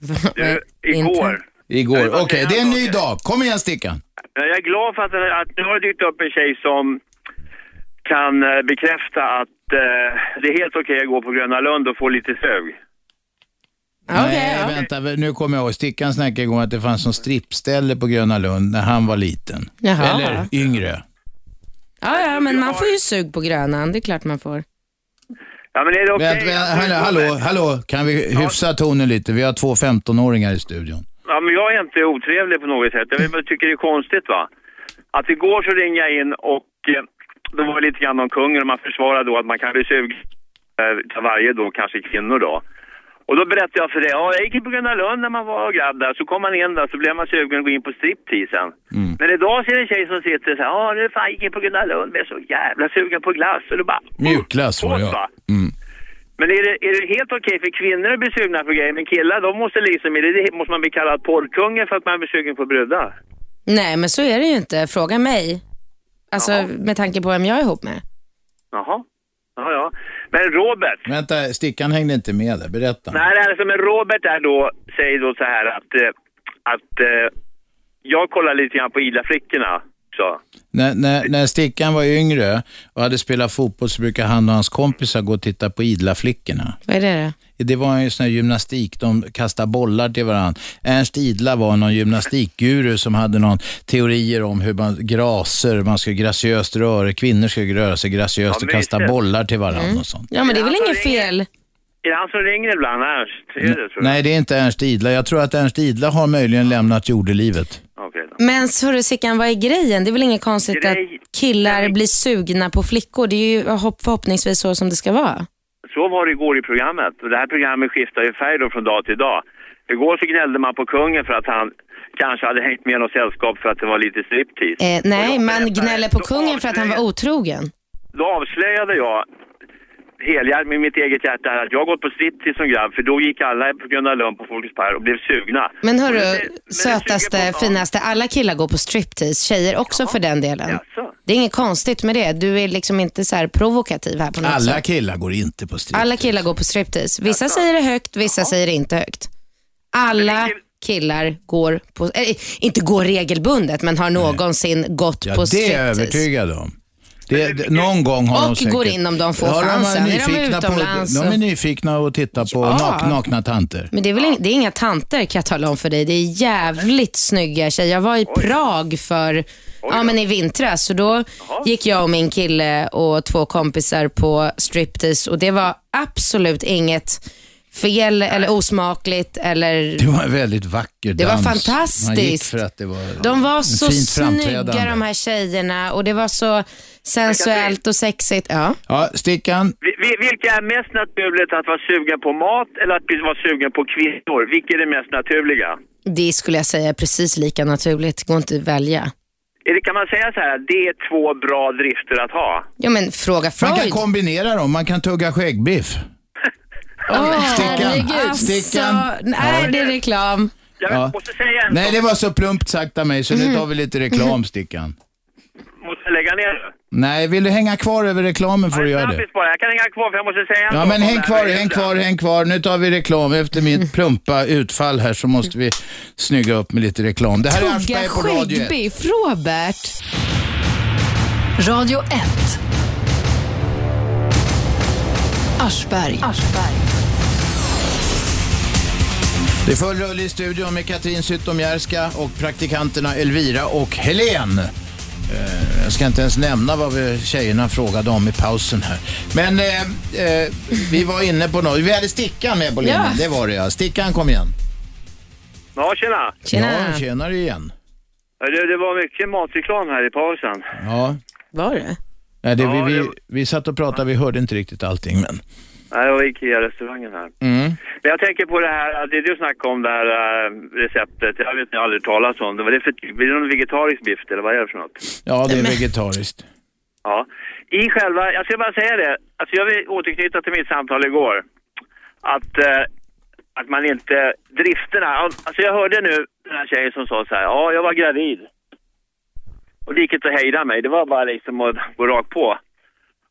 Q: du igår.
B: Igår, okej. det är en ny dag. Kom igen Stickan.
Q: Eh, Jag är glad för att, att nu har det dykt upp en tjej som kan eh, bekräfta att eh, det är helt okej att gå på Gröna Lund och få lite sug.
B: Nej, vänta. Nu kommer jag ihåg. Stickan snackade igår att det fanns någon strippställe på Gröna Lund när han var liten.
C: Jaha.
B: Eller yngre.
C: Ja, ja, men man får ju sug på grönan, det är klart man får.
Q: Ja men är det okej? Alltså,
B: Vänt, vänt, hallå, hallå, hallå, kan vi hyfsa tonen lite? Vi har två 15-åringar i studion.
Q: Ja, men jag är inte otrevlig på något sätt. Jag bara tycker det är konstigt va. Att igår så ringde jag in och eh, då var det lite grann om kungen och man försvarade då att man kan bli sugen eh, till varje då, kanske kvinnor då. Och då berättade jag för det, ja jag gick på Gröna Lund när man var grabb där, så kom man in där så blev man sugen att gå in på stripteasen. Men idag ser jag en tjej som sitter så här, ja nu fan gick jag på Gröna Lund, jag är så jävla sugen på glass. Och då bara,
B: Mjukglass var jag. Mm.
Q: va? Men är det, är det helt okej för kvinnor att bli sugna på grejer, men killar de måste liksom, är det, måste man bli kallad porrkungen för att man blir sugen på brudar?
C: Nej, men så är det ju inte. Fråga mig. Alltså med tanke på vem jag är ihop med.
Q: Jaha. Ja, ja. Men Robert,
B: Vänta, Stickan hängde inte med där. Berätta.
Q: nej, nej, alltså, men Robert är då, säger då så här att, eh, att eh, jag kollar lite grann på Ila-flickorna också.
B: När, när, när Stickan var yngre och hade spelat fotboll så brukade han och hans kompisar gå och titta på Idla-flickorna.
C: Vad är det då?
B: Det var ju sån här gymnastik, de kastade bollar till varandra. Ernst Idla var någon gymnastikguru som hade någon teorier om hur man graser, man skulle graciöst röra, kvinnor skulle röra sig graciöst och kasta bollar till varandra
C: Mm.
B: och sånt.
C: Ja, men Alltså, det är väl inget fel?
Q: Är det han som ringer ibland, Ernst? Är det så?
B: Nej, det är inte Ernst Idla. Jag tror att Ernst Idla har möjligen lämnat jordelivet.
Q: Okej då.
C: Men så hörru Sickan, vad är grejen? Det är väl inget konstigt att killar blir sugna på flickor? Det är ju hopp- förhoppningsvis så som det ska vara.
Q: Så var det igår i programmet. Och det här programmet skiftar ju färg då från dag till dag. Igår så gnällde man på kungen för att han kanske hade hängt med något sällskap för att det var lite striptease.
C: Eh, nej, man gnäller på kungen för att han var otrogen.
Q: Då avslöjade jag helhjärtat med mitt eget hjärta här att jag har gått på striptease som grabb för då gick alla på Gröna Lund på Folkets Park och blev sugna.
C: Men hörru, sötaste, finaste, alla killar går på striptease. Tjejer också för den delen. Det är inget konstigt med det. Du är liksom inte så här provokativ här på något
B: Alla
C: sätt.
B: killar går inte på strip.
C: Alla killar går på striptease. Vissa säger det högt, vissa säger det inte högt. Alla killar går på, äh, inte går regelbundet, men har någonsin gått
B: Ja,
C: på
B: det
C: striptease.
B: är jag övertygad om. Det, det, någon gång har de
C: Och
B: säkert...
C: går in om de får
B: Ja,
C: chansen. Är de
B: nyfikna
C: utomlands
B: På, de är
C: och-
B: nyfikna och tittar på
C: Ja.
B: nak, nakna tanter.
C: Men det är, väl in, det är inga tanter kan jag tala om för dig. Det är jävligt snygga tjejer. Jag var i Prag för, ja men i vintras. Så då gick jag och min kille och två kompisar på striptease och det var absolut inget fel eller osmakligt. Eller...
B: Det var en väldigt vacker
C: Det var
B: dans. Man gick
C: fantastiskt.
B: för att det var
C: De var så
B: fint
C: snygga
B: framträdande.
C: de här tjejerna och det var så sensuellt och sexigt. Ja.
B: Ja, Stickan.
Q: Vi- vi- Vilka är mest naturligt, att vara sugen på mat eller att vara sugen på kvinnor? Vilket är det mest naturliga?
C: Det skulle jag säga är precis lika naturligt. Det går inte att välja.
Q: Eller kan man säga så här, att det är två bra drifter att ha?
C: Ja, men fråga
B: Man kan
C: Freud.
B: kombinera dem, man kan tugga skäggbiff. Stickan. Stickan.
C: Alltså, nej, det är reklam.
B: Ja. Nej, det var så plumpt sagt av mig så
C: Mhm.
B: nu tar vi lite reklam, Stickan.
Q: Måste jag lägga ner det?
B: Nej, vill du hänga kvar över reklamen får du göra det.
Q: Snabbis bara, jag kan hänga kvar för jag måste säga
B: Ja,
Q: något
B: men
Q: om
B: häng
Q: det här
B: kvar,
Q: med
B: häng kvar, häng kvar. Nu tar vi reklam. Efter mitt plumpa utfall här så måste vi snygga upp med lite reklam. Det här är Aschberg på Radio 1.
C: skäggbiff, Robert.
M: Radio 1. Aschberg.
B: Det är full rulle i studion med Katrin Zytomierska och praktikanterna Elvira och Helen. Eh, Jag ska inte ens nämna vad vi tjejerna frågade om i pausen här. Men eh, eh, vi var inne på något. Vi hade Stickan med på linjen.
Q: Ja.
B: Det var det ja. Stickan kom igen.
Q: Ja, tjena.
B: Ja, tjenare igen.
Q: Ja, Det, det var mycket matreklam här i pausen.
B: Ja.
C: Var det?
B: Nej, det,
Q: Ja,
B: vi, vi,
Q: det-
B: vi satt och pratade, vi hörde inte riktigt allting men.
Q: Nej, det var Ikea-restaurangen här.
B: Mm.
Q: Men jag tänker på det här, att det du snackade om det här äh, receptet, jag vet inte, jag har aldrig talat om det. Vad är det för typ? Är det någon vegetarisk biff eller vad är det för något?
B: Ja, det är vegetariskt.
Q: Ja. I själva, jag ska bara säga det, alltså jag vill återknyta till mitt samtal igår. Att, eh, att man inte, drifterna, alltså jag hörde nu den här tjejen som sa så här, ja jag var gravid. Och det gick inte att hejda mig, det var bara liksom att gå rakt på.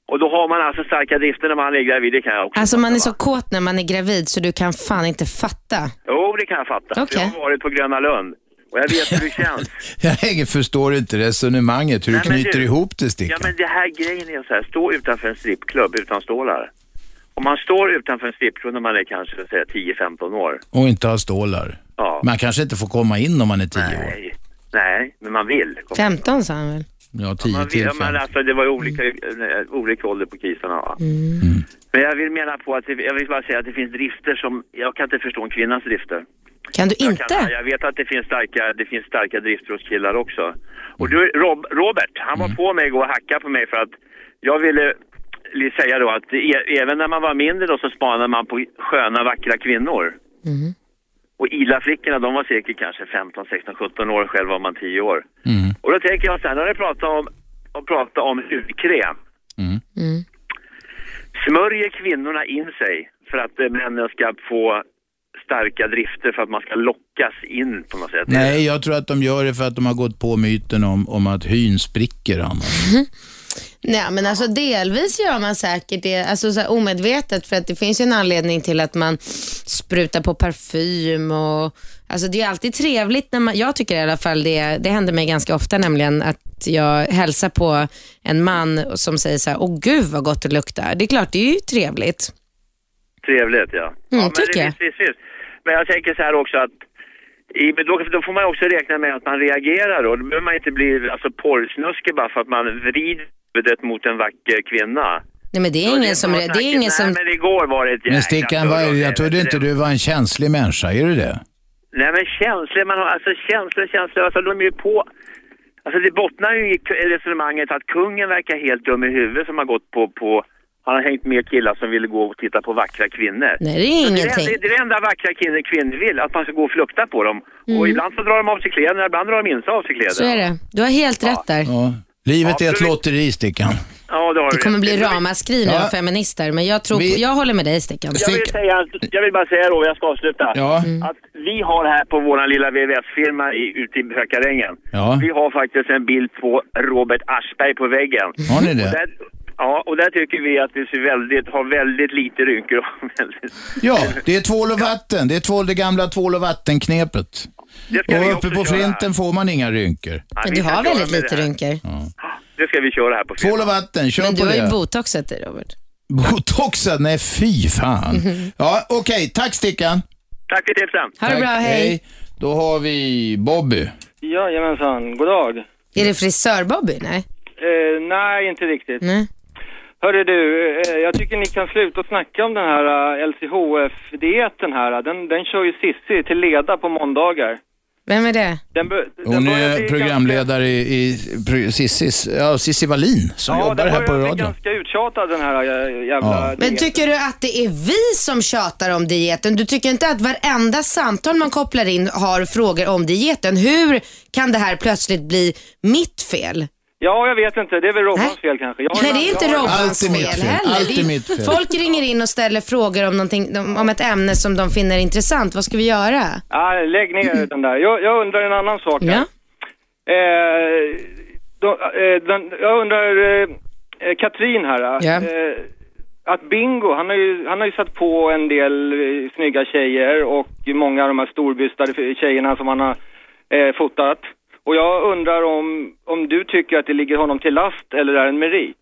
Q: Och då har man alltså starka drifter när man är gravid, det kan jag också.
C: Alltså man är så kåt när man är gravid så du kan fan inte fatta.
Q: Jo, det kan jag fatta. För
C: Okej.
Q: Jag har varit på Gröna Lund och jag vet hur det känns.
B: Jag förstår inte resonemanget, hur du
Q: Nej, men
B: knyter
Q: du-
B: ihop det Stickan.
Q: Ja, men det här grejen är så här, stå utanför en strippklubb utan stålar. Om man står utanför en strippklubb när man är kanske så att säga, 10-15 år.
B: Och inte ha stålar.
Q: Ja.
B: Man kanske inte får komma in om man är tio år.
Q: Nej, nej, men man vill.
C: 15 sa han väl?
B: Ja,
Q: Ja,
B: tio
Q: man vill,
B: till
Q: ja,
B: fem.
Q: men alltså, det var ju olika,
B: Mm.
Q: eh, olika ålder på kisarna. va?
C: Mm.
Q: Men jag vill mena på att, det, jag vill bara säga att det finns drifter som, jag kan inte förstå en kvinnas drifter.
C: Kan du
Q: Jag, kan, jag vet att det finns, starka, det finns starka drifter hos killar också. Och du, Rob, Robert, han
C: Mm.
Q: var på mig igår och hackade på mig för att jag ville li- säga då att e även när man var mindre då så spanade man på sköna, vackra kvinnor.
C: Mm.
Q: Och Ila-flickorna, de var säkert kanske 15, 16, 17 år, själv var man 10 år. Och då tänker jag så här, när ni pratar om, och pratar om hudkräm.
C: Mm.
Q: Smörjer kvinnorna in sig för att eh, männen ska få starka drifter för att man ska lockas in på något sätt?
B: Nej, jag tror att de gör det för att de har gått på myten om, om att hyn spricker annars.
C: Nej, men alltså delvis gör man säkert det, alltså så här omedvetet, för att det finns ju en anledning till att man sprutar på parfym och alltså det är alltid trevligt när man, jag tycker i alla fall det, det händer mig ganska ofta nämligen att jag hälsar på en man som säger så här, åh gud vad gott det luktar. Det är klart, det är ju trevligt.
Q: Trevligt, ja. ja men
C: Mm, tycker
Q: det,
C: jag.
Q: visst, visst, visst. Men jag tänker så här också att i, men då, då får man också räkna med att man reagerar då. Då behöver man inte bli alltså, porrsnuskig bara för att man vrider huvudet mot en vacker kvinna.
C: Nej, men det är ingen som, det är ingen som,
Q: Men igår var det ett jäkla Alltså,
B: Men Stickan, vad är det? jag trodde inte du var en känslig människa, är du det?
Q: Nej men känslor, man har alltså känslor, känslor, alltså de är ju på. Alltså det bottnar ju i k- resonemanget att kungen verkar helt dum i huvudet som har gått på, på han har hängt med killar som ville gå och titta på vackra kvinnor.
C: Nej, det är
Q: Så
C: ingenting.
Q: Det, det är det enda vackra kvinnor, kvinnor vill, att man ska gå och flukta på dem. Och
C: Mm.
Q: ibland så drar de av sig kläderna, ibland drar de inte av sig kläderna.
C: så är det. Du har helt rätt där.
B: Ja. Livet är ett lotteri, Stickan.
Q: Ja, det har
C: Det
Q: du
C: kommer
Q: rätt.
C: bli ramaskri nu
B: Ja.
C: av feminister, men jag tror,
Q: Vi-
C: på, jag håller med dig Stickan.
Q: Jag vill, säga, jag vill bara säga då, jag ska avsluta.
B: Ja.
Q: Att vi har här på vår lilla VVS-firma i, ute i Hökarängen.
B: Ja.
Q: Vi har faktiskt en bild på Robert Aschberg på väggen.
B: Har ni det?
Q: Och där, ja, och där tycker vi att vi ser väldigt, har väldigt lite rynkor. och väldigt-
B: Ja, det är tvål och vatten. Det är tvål, det gamla tvål och vattenknepet.
Q: Det ska vi
B: Och
Q: också
B: uppe på
Q: köra
B: flinten får man inga rynkor.
Q: Ja, vi ska köra med det här.
C: rynkor.
Q: Det ska vi köra här på
B: Tvål och vatten, kör
C: Men du
B: på
C: har ju
B: det.
C: botoxat dig Robert.
B: Botoxad? Nej, fy fan.
C: Mhm.
B: Ja, okej. Tack Stickan.
Q: Tack för tipsen.
B: Tack, Då har vi Bobby.
P: Jajamensan, god dag.
C: Är det frisör-Bobby? Nej. Mm.
P: Eh, nej, inte riktigt.
C: Nej.
D: Hörru du, eh, jag tycker ni kan sluta snacka om den här eh, LCHF-dieten här. Den, den kör ju Sissi till leda på måndagar.
C: Vem är det?
D: Den bör- den
B: Hon
D: börjar bli
B: är programledare i, i pro- Sissis, ja, Sissi Wallin som
D: Ja,
B: jobbar
D: den
B: här på
D: börjar bli
B: radion.
D: ganska uttjatad den här eh, jävla
B: Ja.
C: Men tycker du att det är vi som tjatar om dieten? Du tycker inte att varenda samtal man kopplar in har frågor om dieten? Hur kan det här plötsligt bli mitt fel?
D: Ja, jag vet inte. Det är väl Robbans fel kanske. Jag har-
C: Nej, det är inte
D: jag har-
C: Robbans fel heller. Det är- Folk ringer in och ställer frågor om, någonting, om ett ämne som de finner intressant. Vad ska vi göra?
D: Nej, lägg ner den där. Jag, jag undrar en annan sak här.
C: Ja.
D: Eh, då, eh, den, jag undrar, eh, eh, Katrin här.
C: Ja.
D: Eh, att Bingo, han har, ju, han har ju satt på en del eh, snygga tjejer och många av de här storbystade tjejerna som han har eh, fotat. Och jag undrar om, om du tycker att det ligger honom till last eller är en merit?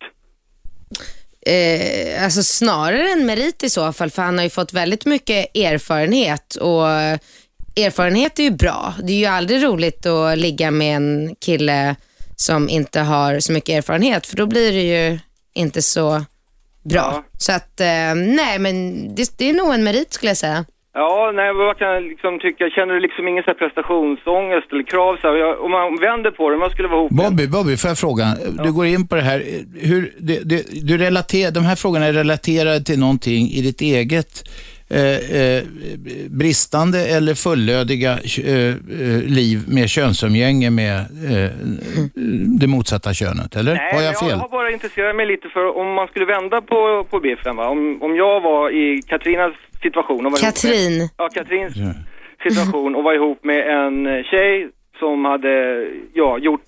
C: Eh, alltså snarare en merit i så fall, för han har ju fått väldigt mycket erfarenhet och erfarenhet är ju bra. Det är ju aldrig roligt att ligga med en kille som inte har så mycket erfarenhet, för då blir det ju inte så bra. Så att, eh, nej men det, det är nog en merit skulle jag säga.
D: Ja, nej, vad kan jag liksom tycka? Känner du liksom ingen så här prestationsångest eller krav? Så här, jag, om man vänder på det, vad skulle vara
B: Bobby, Bobby, får jag fråga? Du går in på det här. Hur, det, det, du relater, de här frågorna är relaterade till någonting i ditt eget eh, eh, bristande eller fullödiga eh, eh, liv med könsumgänge med eh, det motsatta könet, eller?
D: Mm. Nej,
B: Har
D: men
B: jag fel?
D: Jag har bara intresserat mig lite för om man skulle vända på, på biffen. Va? Om, om jag var i Katrinas situation. Och var ihop
C: Katrin.
D: Med, ja, Katrins situation och var ihop med en eh, tjej som hade ja, gjort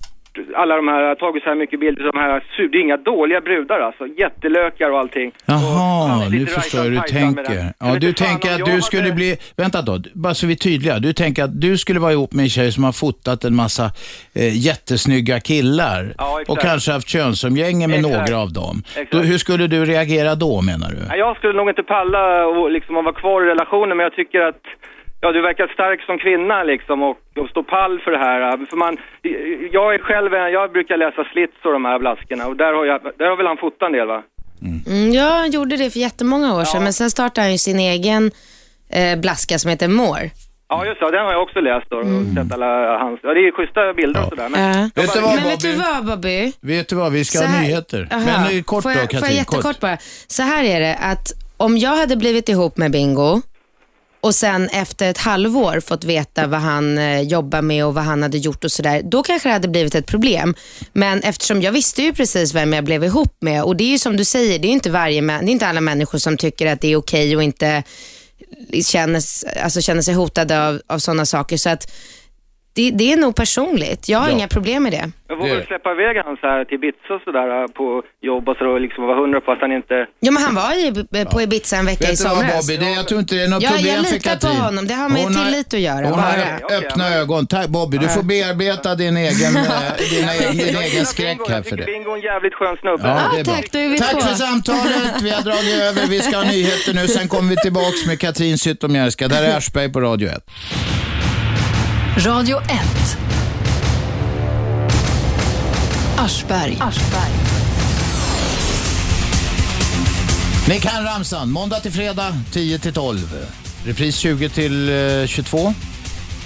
D: alla de här, tagit så här mycket bilder, de här, su- det är inga dåliga brudar alltså, jättelökar och allting.
B: Jaha, nu förstår jag hur du
D: Tyson med
B: tänker.
D: den.
B: Ja, du tänker att du skulle bli, vänta då, bara så vi är tydliga. Du tänker att du skulle vara ihop med en tjej som har fotat en massa eh, jättesnygga killar och kanske haft könsumgänge med
D: Exakt.
B: några av dem.
D: Exakt.
B: Då, hur skulle du reagera då menar du?
D: Nej, jag skulle nog inte palla och liksom att vara kvar i relationen, men jag tycker att Ja, du verkar stark som kvinna liksom och, och stå pall för det här. För man, jag är själv, en- jag brukar läsa Slits och de här blaskorna och där har, jag, där har väl han fotat en del va?
C: Mm, ja, han gjorde det för jättemånga år sedan, men sen startade han ju sin egen eh, blaska som heter Mår.
D: Ja just det, den har jag också läst då. Och sett alla hans, ja det är schyssta bilder och sådär. Men,
C: Ja.
B: Mm. Vet du vad,
C: Eh. men vet du
B: Bobby?
C: vad Bobby?
B: Vet du vad, vi ska
C: Så
B: ha
C: här-
B: nyheter.
C: Aha.
B: Men eh, kort
C: får jag,
B: då Katrin,
C: Får jag jättekort bara. Så här är det att om jag hade blivit ihop med Bingo och sen efter ett halvår fått veta vad han eh, jobbar med och vad han hade gjort och sådär, då kanske det hade blivit ett problem. Men eftersom jag visste ju precis vem jag blev ihop med och det är ju som du säger, det är ju inte, varje, mä- det är inte alla människor som tycker att det är okej och inte känner, s- alltså känner sig hotade av, av sådana saker. Så att det, det är nog personligt. Jag har
D: Ja.
C: inga problem med det.
D: men vågar du släppa iväg han så här till Ibiza och sådär på jobb och så och liksom vara hundra på att han inte...
C: Ja, men han var ju på Ibiza en vecka i
D: Vet du vad,
C: somras.
D: Bobby?
B: Det, jag tror inte det är något
C: Ja,
B: problem
C: jag
B: för
C: litar på
B: Katrin.
C: honom. Det har med
B: Hon har-
C: tillit att göra.
B: Hon
C: bara.
B: har öppna ögon. Tack Bobby, du
C: Ja.
B: får bearbeta din egen, eh, dina- din egen skräck här för det.
D: Bingo är en jävligt skön snubbe.
B: Ja, det är bra. Tack för samtalet. Vi har dragit över. Vi ska ha nyheter nu. Sen kommer vi tillbaks med Katrin Zytomierska. Där är Aschberg på Radio 1.
M: Radio 1. Aschberg.
B: Ni kan ramsan. Måndag till fredag 10 till 12. Repris 20 till eh, 22.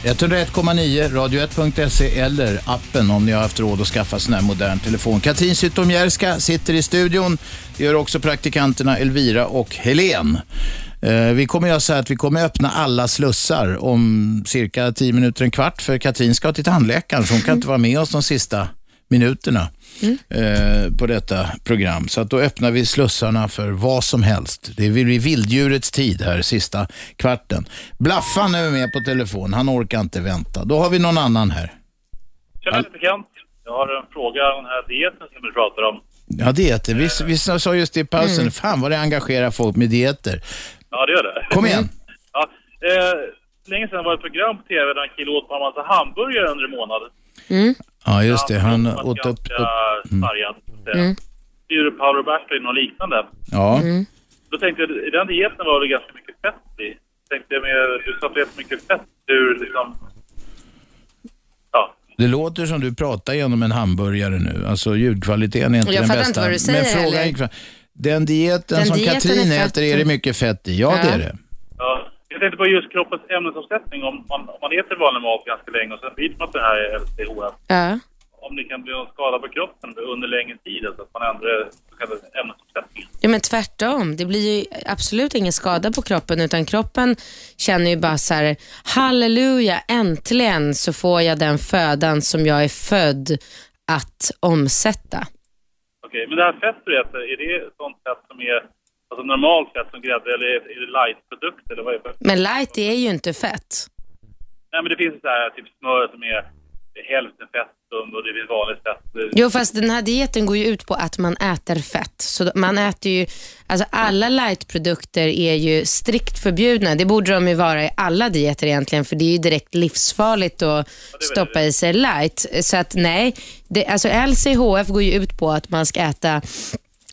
B: 101,9 radio1.se eller appen om ni har haft råd att skaffa sån här modern telefon. Katrin Zytomierska sitter i studion. Det gör också praktikanterna Elvira och Helen. Eh, Vi kommer göra så här att vi kommer öppna alla slussar om cirka 10 minuter, en kvart. För Katrin ska till tandläkaren så hon kan inte vara med oss de sista minuterna eh, på detta program. Så att då öppnar vi slussarna för vad som helst. Det blir vilddjurets tid här sista kvarten. Blaffan är med på telefon, han orkar inte vänta. Då har vi någon annan här.
P: Tjena bekant. Jag har en fråga om den här dieten som du pratar om.
B: Ja, dieter. Vi, vi sa just det i pausen,
C: Mm.
B: fan vad det engagerar folk med dieter.
P: Ja, det gör det.
B: Kom igen.
P: Ja, eh, länge sedan var det ett program på TV där en kille åt bara en massa hamburgare under en månad.
C: Mm.
B: Ja, just det. Han åt upp...
P: Ganska sargad.
B: Mm.
P: Mm. Djur Paolo Bertlin och liknande.
B: Ja.
C: Mm.
P: Då tänkte jag, i den dieten var det ganska mycket fett i. Tänkte jag med, du sa att det är så mycket fett ur liksom...
B: Det låter som du pratar genom en hamburgare nu. Alltså ljudkvaliteten är inte
C: Jag
B: den
C: fattar
B: bästa.
C: inte vad du säger
B: Men frågan
C: heller.
B: gick fram. Den dieten
P: Den
B: som
P: dieten
B: Katrin
P: är fett.
B: äter är det mycket fett i. Ja,
P: Ja.
B: det är det.
P: Ja, jag tänkte på just kroppens ämnesomsättning. Om man, om man äter vanlig mat ganska länge och sen får man att det här är LCHF.
C: Ja.
P: Om det kan bli någon skada på kroppen under längre tid, alltså att man ändrar så kallad ämnesomsättning.
C: Ja, men tvärtom. Det blir ju absolut ingen skada på kroppen utan kroppen känner ju bara så här, halleluja, äntligen så får jag den födan som jag är född att omsätta.
P: Okej, men det här fett du äter, är det sånt fett som är alltså normalt fett som grädde eller är är det lightprodukter? Eller vad är det? för-
C: Men light det är ju inte fett.
P: Nej, men det finns så här typ smör som är hälften fett och det finns vanligt fett.
C: Jo, fast den här dieten går ju ut på att man äter fett. Så man äter ju, alltså alla lightprodukter är ju strikt förbjudna. Det borde de ju vara i alla dieter egentligen, för det är ju direkt livsfarligt att stoppa i sig light. Så att nej, det, alltså LCHF går ju ut på att man ska äta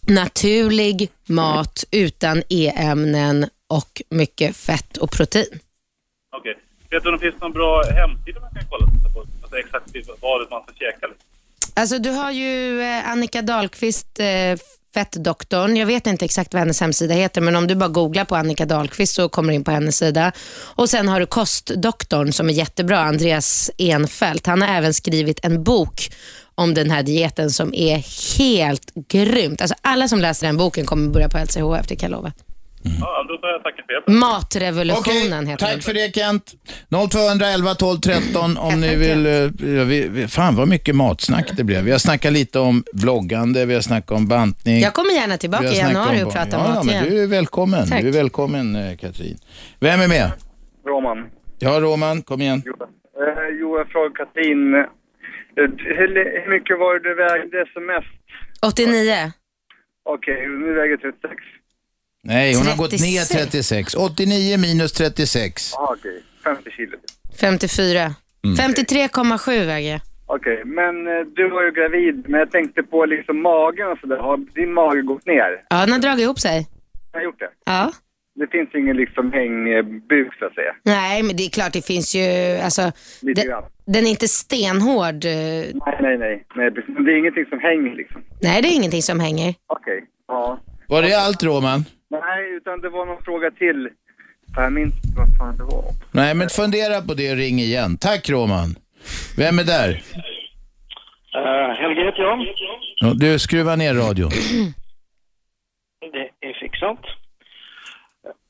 C: naturlig mat utan e-ämnen och mycket fett och protein.
P: Okej. Vet du om det finns någon bra hemsida man kan kolla på? Alltså exakt vad man ska käka? liksom.
C: Alltså du har ju eh, Annika Dahlqvist, eh, fettdoktorn. Jag vet inte exakt vad hennes hemsida heter, men om du bara googlar på Annika Dahlqvist så kommer du in på hennes sida. Och sen har du kostdoktorn som är jättebra, Andreas Enfeldt. Han har även skrivit en bok om den här dieten som är helt grymt. Alltså alla som läser den boken kommer börja på LCHF, det kan jag lova.
P: Mm. Ja, då tar jag tacka för hjälpen.
C: Matrevolutionen heter den.
B: Tack för det Kent. 0211 12 13 om ni vill. eh, ja, vi- vi- Fan vad mycket matsnack det blev. Vi har snackat lite om bloggande, vi har snackat om bantning.
C: Jag kommer gärna tillbaka
B: Vi har
C: i
B: snackat om
C: januari och
B: barn.
C: prata
B: ja,
C: mat
B: ja, men
C: igen.
B: Du är välkommen,
C: Tack.
B: du är välkommen eh, Katrin. Vem är med?
R: Roman.
B: Ja, Roman, kom igen.
R: Eh, jo, jag frågar Katrin. Eh, Hur, hur mycket var det du vägde som mest?
C: 89.
R: Okej, nu väger jag 36.
B: Nej, hon har gått ner
R: 36.
B: 36. 89 minus 36.
R: Jaha, Ah, okej. 50 kilo.
C: 54.
B: Mm.
C: 53,7 väger jag.
R: Okej, men eh, du var ju gravid, men jag tänkte på liksom magen och sådär. Har din mage gått ner?
C: Ja, den har dragit ihop sig.
R: Jag har gjort det.
C: Ja.
R: Det finns ju ingen liksom hängbuk så att säga.
C: Nej, men det är klart det finns ju, alltså,
R: Lite
C: den,
R: grann.
C: den är inte stenhård. eh,
R: Nej, nej, nej. nej precis. Men det är ingenting som hänger liksom.
C: Nej, det är ingenting som hänger.
R: Okej, ja.
B: Var det allt Roman?
R: Nej, utan det var någon fråga till. Jag minns inte vad fan det var.
B: Nej, men fundera på det och ring igen. Tack Roman. Vem är där?
S: Uh, Helge heter jag.
B: Ja, Du, skruva ner radion.
S: Det är fixat.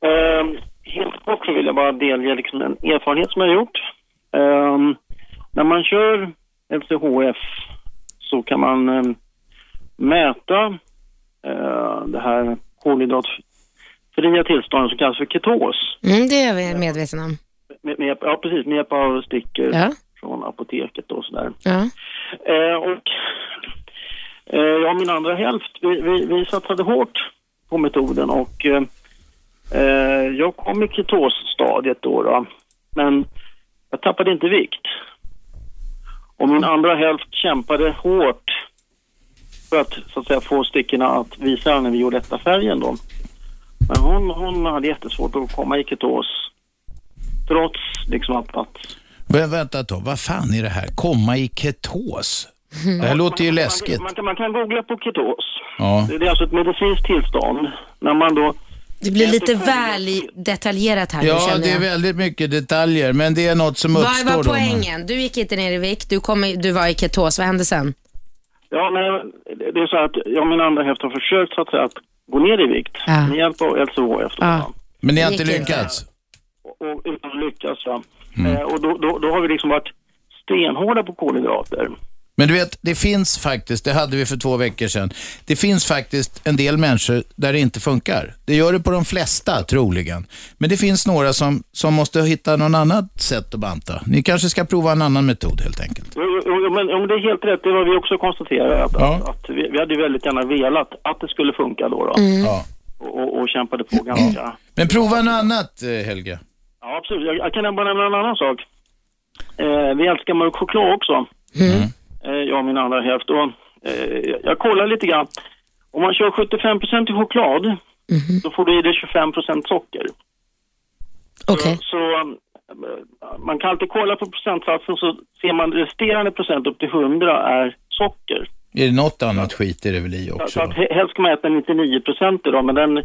S: Ehm, helt kort så vill jag bara delge liksom en erfarenhet som jag har gjort. Ehm, när man kör LCHF så kan man ehm, mäta eh, det här kolhydratfria tillståndet som kallas för ketos.
C: Mm, det är jag medveten om.
S: Med, med, hjälp- ja, precis, med hjälp av stickor
C: Ja.
S: från apoteket och sådär.
C: Ja.
S: Eh, och eh, jag och min andra hälft, vi, vi, vi satsade hårt på metoden och eh, eh, jag kom i ketosstadiet då, då. Men jag tappade inte vikt. Och min andra hälft kämpade hårt för att, så att säga, få stickorna att visa den violetta färgen då. Men hon, hon hade jättesvårt att komma i ketos. Trots liksom att, att
B: Vä- Vänta ett tag, vad fan är det här? Komma i ketos? Det här låter ju läskigt.
S: Man kan, man kan googla på ketos.
B: Ja.
S: Det är alltså ett medicinskt tillstånd när man då...
C: Det blir lite väl i- detaljerat här nu
B: Ja,
C: känner
B: det är
C: jag.
B: väldigt mycket detaljer, men det är något som uppstår.
C: Vad var
B: då.
C: poängen? Du gick inte ner i vikt, du, kom i, du var i ketos, vad hände sen?
S: Ja, men det är så här att jag och min andra hälft har försökt så att, säga, att gå ner i vikt med hjälp av LCHF.
C: Ja.
B: Men ni har
S: Det
B: inte
S: gick
B: lyckats? Mm.
S: Och, och utan att lyckas, ja. Eh, och då, då, då har vi liksom varit stenhårda på kolhydrater.
B: Men du vet, det finns faktiskt, det hade vi för två veckor sedan, det finns faktiskt en del människor där det inte funkar. Det gör det på de flesta troligen. Men det finns några som, som måste hitta någon annat sätt att banta. Ni kanske ska prova en annan metod helt enkelt.
S: Jo, jo, jo, Men, jo, men det är helt rätt, det var vi också konstaterade. Att, att, att vi, vi hade ju väldigt gärna velat att det skulle funka då. då.
B: Mm. Ja.
S: Och, och, och kämpade på ganska...
B: Men prova något annat eh, Helge.
S: Ja, absolut. Jag, jag kan bara nämna en annan sak. Eh, vi älskar mörk choklad också.
B: Mm.
S: Eh, jag och min andra hälft. Och, eh, jag- jag kollar lite grann. Om man kör 75 i choklad, då får du i dig 25 socker.
C: Okej.
S: Så, eh, man kan alltid kolla på procentsatsen så ser man resterande procent upp till 100 är socker.
B: Är det något annat skit är det väl i
S: Så
B: också.
S: att he- helst ska man äta 99 procent då, men den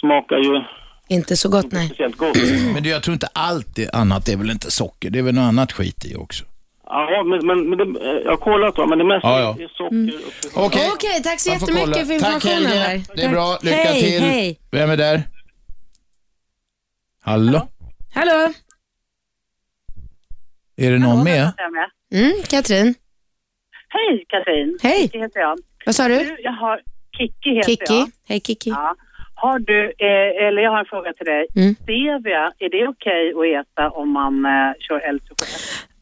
S: smakar ju
C: Inte så gott, nej.
S: speciellt gott.
B: Men det, jag tror inte allt det annat är väl inte socker, det är väl något annat skit i också.
S: Ja, men, men, men det, eh, jag har kollat då, men det mesta
B: Ja, ja.
S: är socker.
B: Okej.
C: Okej, tack så
B: Man får
C: jättemycket
B: kolla.
C: för informationen.
B: Tack
C: där.
B: Helge, det är bra. Lycka
C: hej,
B: till.
C: Hej.
B: Vem är där? Hallå?
C: Hallå?
B: Är det någon med?
C: Mm, Katrin.
T: Hej Katrin!
C: Hej.
T: Kikki heter jag.
C: Vad sa du?
T: Jag har... Kikki heter
C: Kikki.
T: jag.
C: Hej Kikki.
T: Ja. Har du, eh, eller jag har en fråga till dig.
C: Mm.
T: Stevia, är det okej att äta om man eh, kör elchoklad?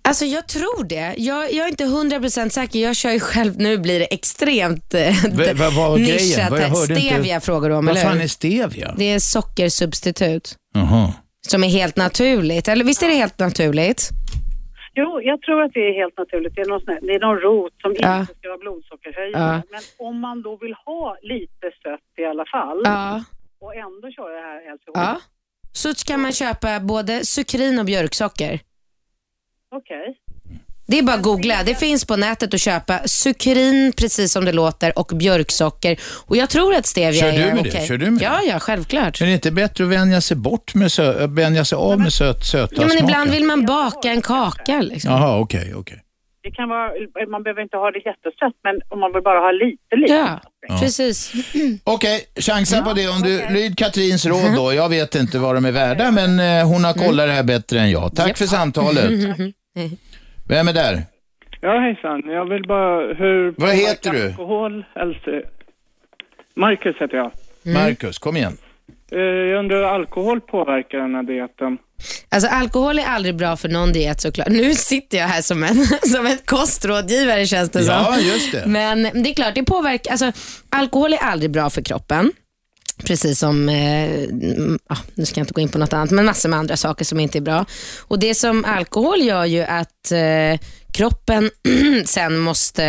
C: Alltså jag tror det. Jag, jag är inte 100% säker. Jag kör ju själv. Nu blir det extremt eh,
B: V- vad var
C: nischat
B: grejen? Vad- jag
C: här.
B: hörde inte-
C: Stevia frågar du om,
B: Vad
C: eller
B: fan
C: hur?
B: är stevia?
C: Det är sockersubstitut
B: Jaha.
C: som är helt naturligt. Eller visst är det helt naturligt?
T: Mm. Jo, jag tror att det är helt naturligt. Det är någon, sån här, det är någon rot som
C: Ja.
T: inte ska vara blodsockerhöjande. Men om man då vill ha lite sött i alla fall
C: Ja.
T: och ändå köra det här elchoklad.
C: Ja. Så kan man köpa både sukrin och björksocker.
T: Okej.
C: Det är bara att googla. Det finns på nätet att köpa sukrin, precis som det låter, och björksocker. Och jag tror att stevia
B: Kör du
C: är
B: med det?
C: okej.
B: Kör du med
C: ja, ja, självklart.
B: Men är det inte bättre att vänja sig bort med sö- äh, vänja sig av med söt, söta
C: Ja, men
B: smaken?
C: ibland vill man baka en kaka. Liksom.
B: Jaha, okej, okej.
T: Det kan vara, man behöver inte ha det jättesött, men om man vill bara ha lite, lite.
C: Ja,
B: Ja.
C: precis.
B: Okej, chansa på det. Om du Lyd Katrins råd då. Jag vet inte vad de är värda, men eh, hon har
C: Mm.
B: kollat det här bättre än jag. Tack för samtalet. Vem är där?
U: Ja, hejsan. Jag vill bara... Hur
B: Vad heter du?
U: Alkohol, alltså... Marcus heter jag.
C: Mm.
B: Marcus, kom igen.
U: Eh, Jag undrar hur alkohol påverkar den här dieten?
C: Alltså alkohol är aldrig bra för någon diet såklart. Nu sitter jag här som en, som en kostrådgivare känns det som.
U: Ja, just det.
C: Men det är klart, det påverkar. Alltså, alkohol är aldrig bra för kroppen. Precis som, eh, mm, ah, nu ska jag inte gå in på något annat, men massor med andra saker som inte är bra. Och Det som alkohol gör ju att eh, kroppen sen måste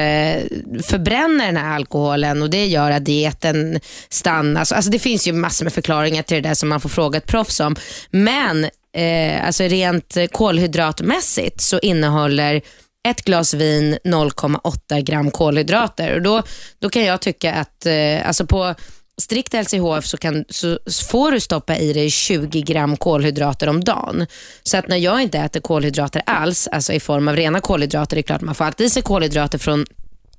C: förbränna den här alkoholen och det gör att dieten stannas. Alltså det finns ju massor med förklaringar till det där som man får fråga ett proffs om. Men eh, alltså rent kolhydratmässigt så innehåller ett glas vin 0,8 gram kolhydrater. Och då, då kan jag tycka att eh, alltså på strikt LCHF så, kan, så får du stoppa i dig 20 gram kolhydrater om dagen. Så att när jag inte äter kolhydrater alls, alltså i form av rena kolhydrater, det är klart man får alltid i sig kolhydrater från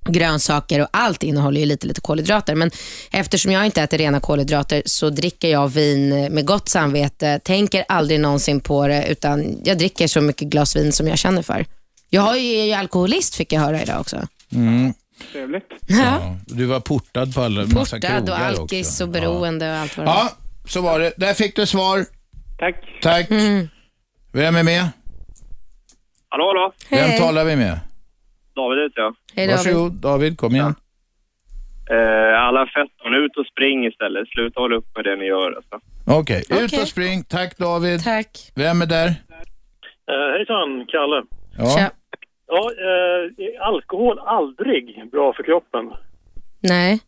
C: grönsaker och allt innehåller ju lite, lite kolhydrater. Men eftersom jag inte äter rena kolhydrater så dricker jag vin med gott samvete, tänker aldrig någonsin på det utan jag dricker så mycket glas vin som jag känner för. Jag har ju- är ju alkoholist fick jag höra idag också.
B: Mm.
U: Trevligt.
B: Ja, du var portad på alla massa
C: Portad
B: krogar
C: och
B: också.
C: alkis och beroende och allt vad det
B: Ja, så var det. Där fick du svar.
U: Tack.
B: Tack.
V: Mm.
B: Vem är med?
V: Hallå, hallå!
B: Vem talar vi med?
V: David heter jag.
B: Varsågod, David. Kom igen.
V: Eh, alla fetton, ut och spring istället. Sluta hålla upp med det ni gör. Alltså.
B: Okej, ut
V: Okej.
B: och spring. Tack David.
C: Tack.
B: Vem är där?
W: Eh, hejsan, Kalle.
B: Ja.
W: Ja, eh, alkohol aldrig bra för kroppen.
C: Nej.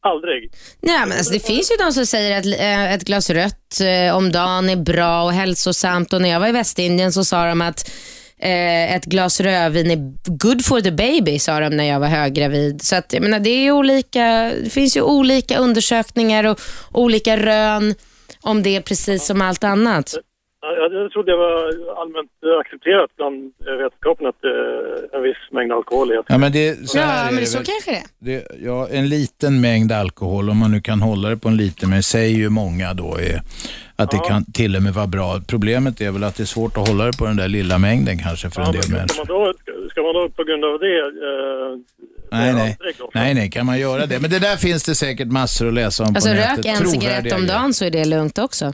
W: Aldrig.
C: Nej, men alltså, det finns ju de som säger att eh, ett glas rött eh, om dagen är bra och hälsosamt. Och när jag var i Västindien så sa de att eh, ett glas rödvin är good for the baby, sa de när jag var höggravid. Så att, jag menar, det, är ju olika, det finns ju olika undersökningar och olika rön om det precis som allt annat.
W: Jag, jag, jag trodde det var allmänt accepterat bland eh, vetenskapen att eh, en viss mängd alkohol är...
B: Ja, men det, så här
W: Ja,
B: är
W: men
B: det
W: så
B: väl.
C: kanske det är.
B: Det, ja, en liten mängd alkohol, om man nu kan hålla det på en liten, men säger ju många då är att det kan till och med vara bra. Problemet är väl att det är svårt att hålla det på den där lilla mängden kanske för en del
W: Ska
B: människor.
W: man, då, ska- ska man då på grund av det... Eh,
B: Nej, nej.
W: aldrig då?
B: nej, nej, kan man göra det? Men det där finns det säkert massor att läsa om
C: Alltså
B: på
C: rök
B: nätet.
C: en cigarett
B: Trovärdiga
C: om
B: grejer. Mm.
C: dagen så är det lugnt också.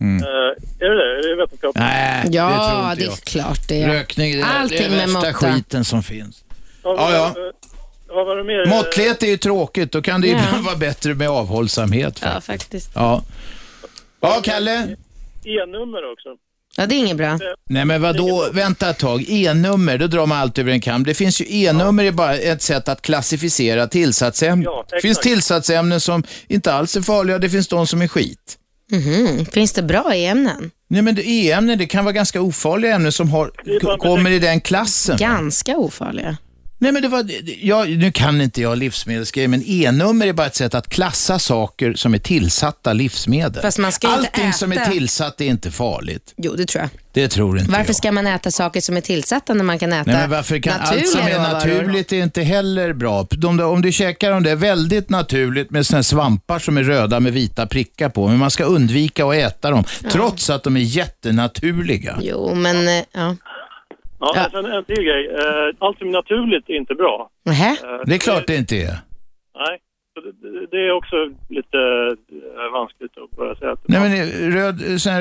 W: Eh, är det det? Är det vetenskap?
B: Nej,
C: Ja,
B: det tror inte
C: det är
B: jag.
C: klart det är.
B: Rökning, det, är- det är
C: Allting med
B: den värsta
C: måtta.
B: skiten som finns.
W: Ja,
B: ja.
W: Eh, Vad var det mer?
B: Måttlighet är ju tråkigt, då kan det ju ibland vara bättre med avhållsamhet.
W: Ja,
B: faktiskt.
W: faktiskt.
B: Ja. ja, Kalle.
W: Eh, E-nummer också.
C: Ja, det är inget bra.
B: Nej men vadå, vänta ett tag. E-nummer, då drar man allt över en kam. Det finns ju e-nummer är bara ett sätt att klassificera tillsatsämnen.
W: Ja,
B: det finns
W: exakt.
B: tillsatsämnen som inte alls är farliga, det finns de som är skit.
C: Mhm. Finns det bra e-ämnen?
B: Nej men det- e-ämnen, det kan vara ganska ofarliga ämnen som har,
C: Det är bara-
B: kommer i den klassen.
C: Ganska ofarliga.
B: Nej, men det var, jag, nu kan inte jag livsmedelsgrejer, men E-nummer är bara ett sätt att klassa saker som är tillsatta livsmedel.
C: Fast man ska ju inte
B: Allting som är
C: äta.
B: tillsatt är inte farligt.
C: Jo, det tror jag.
B: Det tror inte
C: Varför
B: jag.
C: ska man äta saker som är tillsatta när man kan äta
B: Nej, men varför kan
C: naturliga
B: allt som är
C: råvaror?
B: naturligt är inte heller bra. De där, om du käkar de där väldigt naturligt med såna här svampar som är röda med vita prickar på, men man ska undvika att äta dem trots att de är jättenaturliga.
C: Jo, men eh, ja.
J: Ja, ja.
W: alltså
J: Sen en till grej. Eh, Allt som är naturligt är inte bra.
C: Nähä.
J: Eh,
B: Det är klart det inte är.
J: Nej, Så det- det- det är också lite eh, vanskligt att börja säga. Att
B: Nej, men röd, sån här,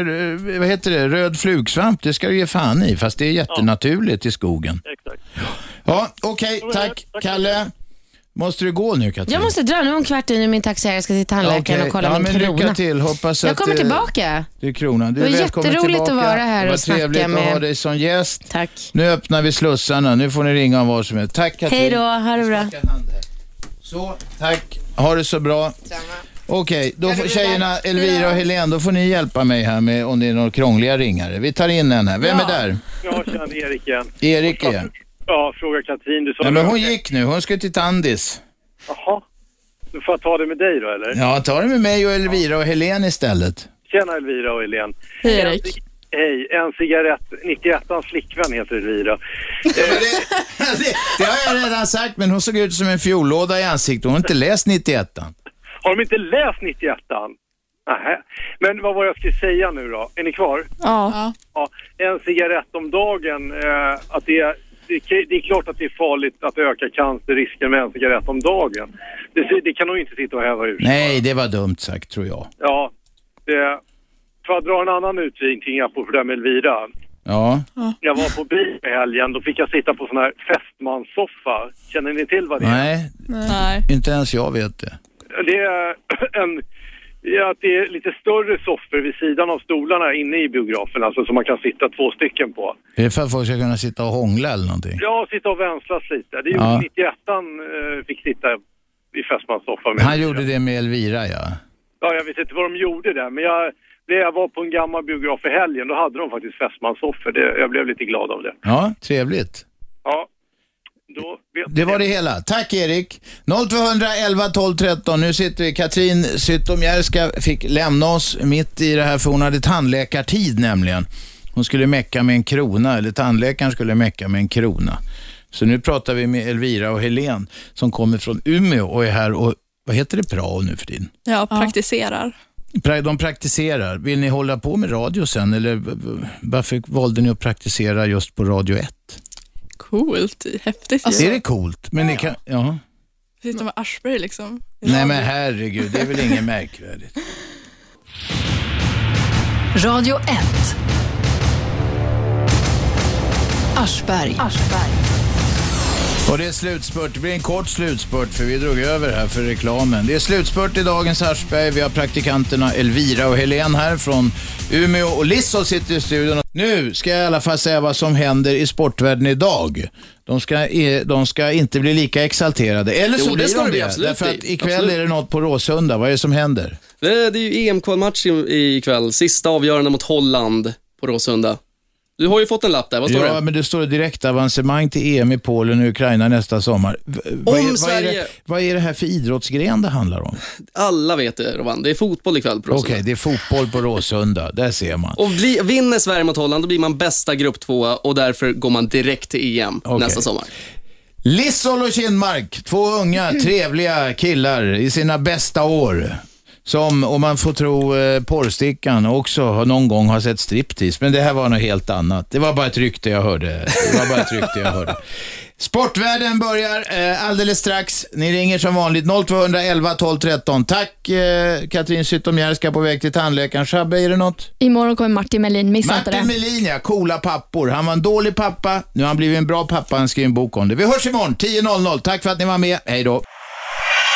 B: eh, vad heter det? röd flugsvamp, det ska du ge fan i, fast det är jättenaturligt i skogen.
J: Exakt.
B: Ja, okej, tack. Kalle, måste du gå nu Katrin?
C: Jag måste dra, nu är om kvart i nu är min taxiägare ska till tandläkaren
B: Okej,
C: och kolla
B: ja,
C: min
B: men
C: krona.
B: Lycka till, hoppas
C: jag
B: att,
C: kommer
B: eh,
C: tillbaka.
B: Du är kronan. Du är
C: Det var
B: välkommen
C: jätteroligt att
B: tillbaka.
C: vara här
B: det var
C: och snacka
B: trevligt att
C: med-
B: ha dig som gäst.
C: Tack.
B: Nu öppnar vi slussarna. Nu får ni ringa om vad som helst. Tack Katrin.
C: Hej då, ha det bra.
B: Så, tack. Ha det så bra. Okej, då får tjejerna Elvira och Helene, då får ni hjälpa mig här med om det är några krångliga ringare. Vi tar in en här. Vem är där?
J: Jag känner Erik igen.
B: Erik igen.
J: Ja, fråga Katrin. Du sa
B: Ja, men hon gick nu. Hon ska till Tandis.
J: Jaha. Du får jag ta det med dig då, eller?
B: Ja, ta det med mig och Elvira och Helene istället.
J: Tjena Elvira och Helene.
B: Hej,
J: En cig- Hej, en cigarett. 91 flickvän heter Elvira.
B: Det har jag redan sagt, men hon såg ut som en fiollåda i ansiktet. Hon har inte läst 91
J: Har de inte läst 91 Nej. Men vad var det jag skulle säga nu då? Är ni kvar?
A: Ja.
J: Ja, en cigarett om dagen, eh, att det, är- det, är- det är klart att det är farligt att öka cancerrisken med en cigarett om dagen. Det, det kan nog inte sitta och häva ur sig.
B: Nej, det var dumt sagt tror jag.
J: Ja, det, får jag dra en annan utvikning på för det här med Elvira?
B: Ja.
J: Jag var på bio i helgen, då fick jag sitta på sån här fästmanssoffa. Känner ni till vad det är?
B: Nej,
J: Nej.
B: inte ens jag vet det.
J: Det är en... Ja, att det är lite större soffor vid sidan av stolarna inne i biografen, alltså som man kan sitta två stycken på.
B: Det är för att folk ska kunna sitta och hångla eller någonting.
J: Ja, sitta och vänslas lite. Det gjorde
B: Ja.
J: 91 eh, fick sitta i fästmanssoffa med.
B: Han gjorde det med Elvira, ja.
J: Ja, jag vet inte vad de gjorde där, men jag, när jag var på en gammal biograf i helgen, då hade de faktiskt fästmanssoffor. Det- Jag blev lite glad av det.
B: Ja, trevligt.
J: Ja, då vet
B: Det var det hela. Tack Erik. 0211 12 13. Nu sitter vi. Katrin Zytomierska fick lämna oss mitt i det här för hon hade tandläkartid nämligen. Hon skulle mecka med en krona, eller tandläkaren skulle mecka med en krona. Så nu pratar vi med Elvira och Helen som kommer från Umeå och är här och, vad heter det, prao nu för tiden?
K: Ja, praktiserar.
B: Pra- De praktiserar. Vill ni hålla på med radio sen eller v- v- varför valde ni att praktisera just på Radio 1?
K: Coolt, häftigt ju.
B: Alltså, är det coolt? Men ni kan, ja.
K: Sitta med Aschberg liksom.
B: Nej men herregud, det är väl inget märkvärdigt.
M: Radio 1. Aschberg.
B: Och det är slutspurt. Det blir en kort slutspurt för vi drog över här för reklamen. Det är slutspurt i dagens Aschberg. Vi har praktikanterna Elvira och Helen här från Umeå och Lissol sitter i studion. Nu ska jag i alla fall säga vad som händer i sportvärlden idag. De ska, eh, de ska inte bli lika exalterade. Eller så
X: Jo, det
B: blir
X: ska
B: de
X: de bli,
B: det.
X: absolut.
B: Därför att ikväll
X: Absolut.
B: är det något på Råsunda. Vad är det som händer?
X: Eh, Det det är ju EM-kvalmatch i- ikväll. Sista avgörande mot Holland på Råsunda. Du har ju fått en lapp där, vad står
B: ja,
X: det?
B: men det står direkt avancemang till EM i Polen och Ukraina nästa sommar. V- vad, är,
X: Om
B: vad, är
X: Sverige...
B: det, vad är det här för idrottsgren det handlar om?
X: Alla vet det, Roman. Det är fotboll ikväll på
B: Okej,
X: Råsunda.
B: det är fotboll på Råsunda. Där ser man.
X: Och bli, vinner Sverige mot Holland, då blir man bästa grupptvåa och därför går man direkt till EM nästa sommar.
B: Lissol och Kindmark, två unga trevliga killar i sina bästa år. Som, om man får tro eh, porrstickan, också har- någon gång har sett striptease. Men det här var något helt annat. Det var bara ett rykte jag hörde. Det var bara ett rykte jag hörde. Sportvärlden börjar eh, alldeles strax. Ni ringer som vanligt 0211 12 13. Tack eh, Katrin Zytomierska på väg till tandläkaren. Shabbe, är det något?
A: Imorgon kommer Martin Melin, missa inte det.
B: Martin Melin ja, coola pappor. Han var en dålig pappa, nu har han blivit en bra pappa. Han skrev en bok om det. Vi hörs imorgon 10.00. Tack för att ni var med. Hej då.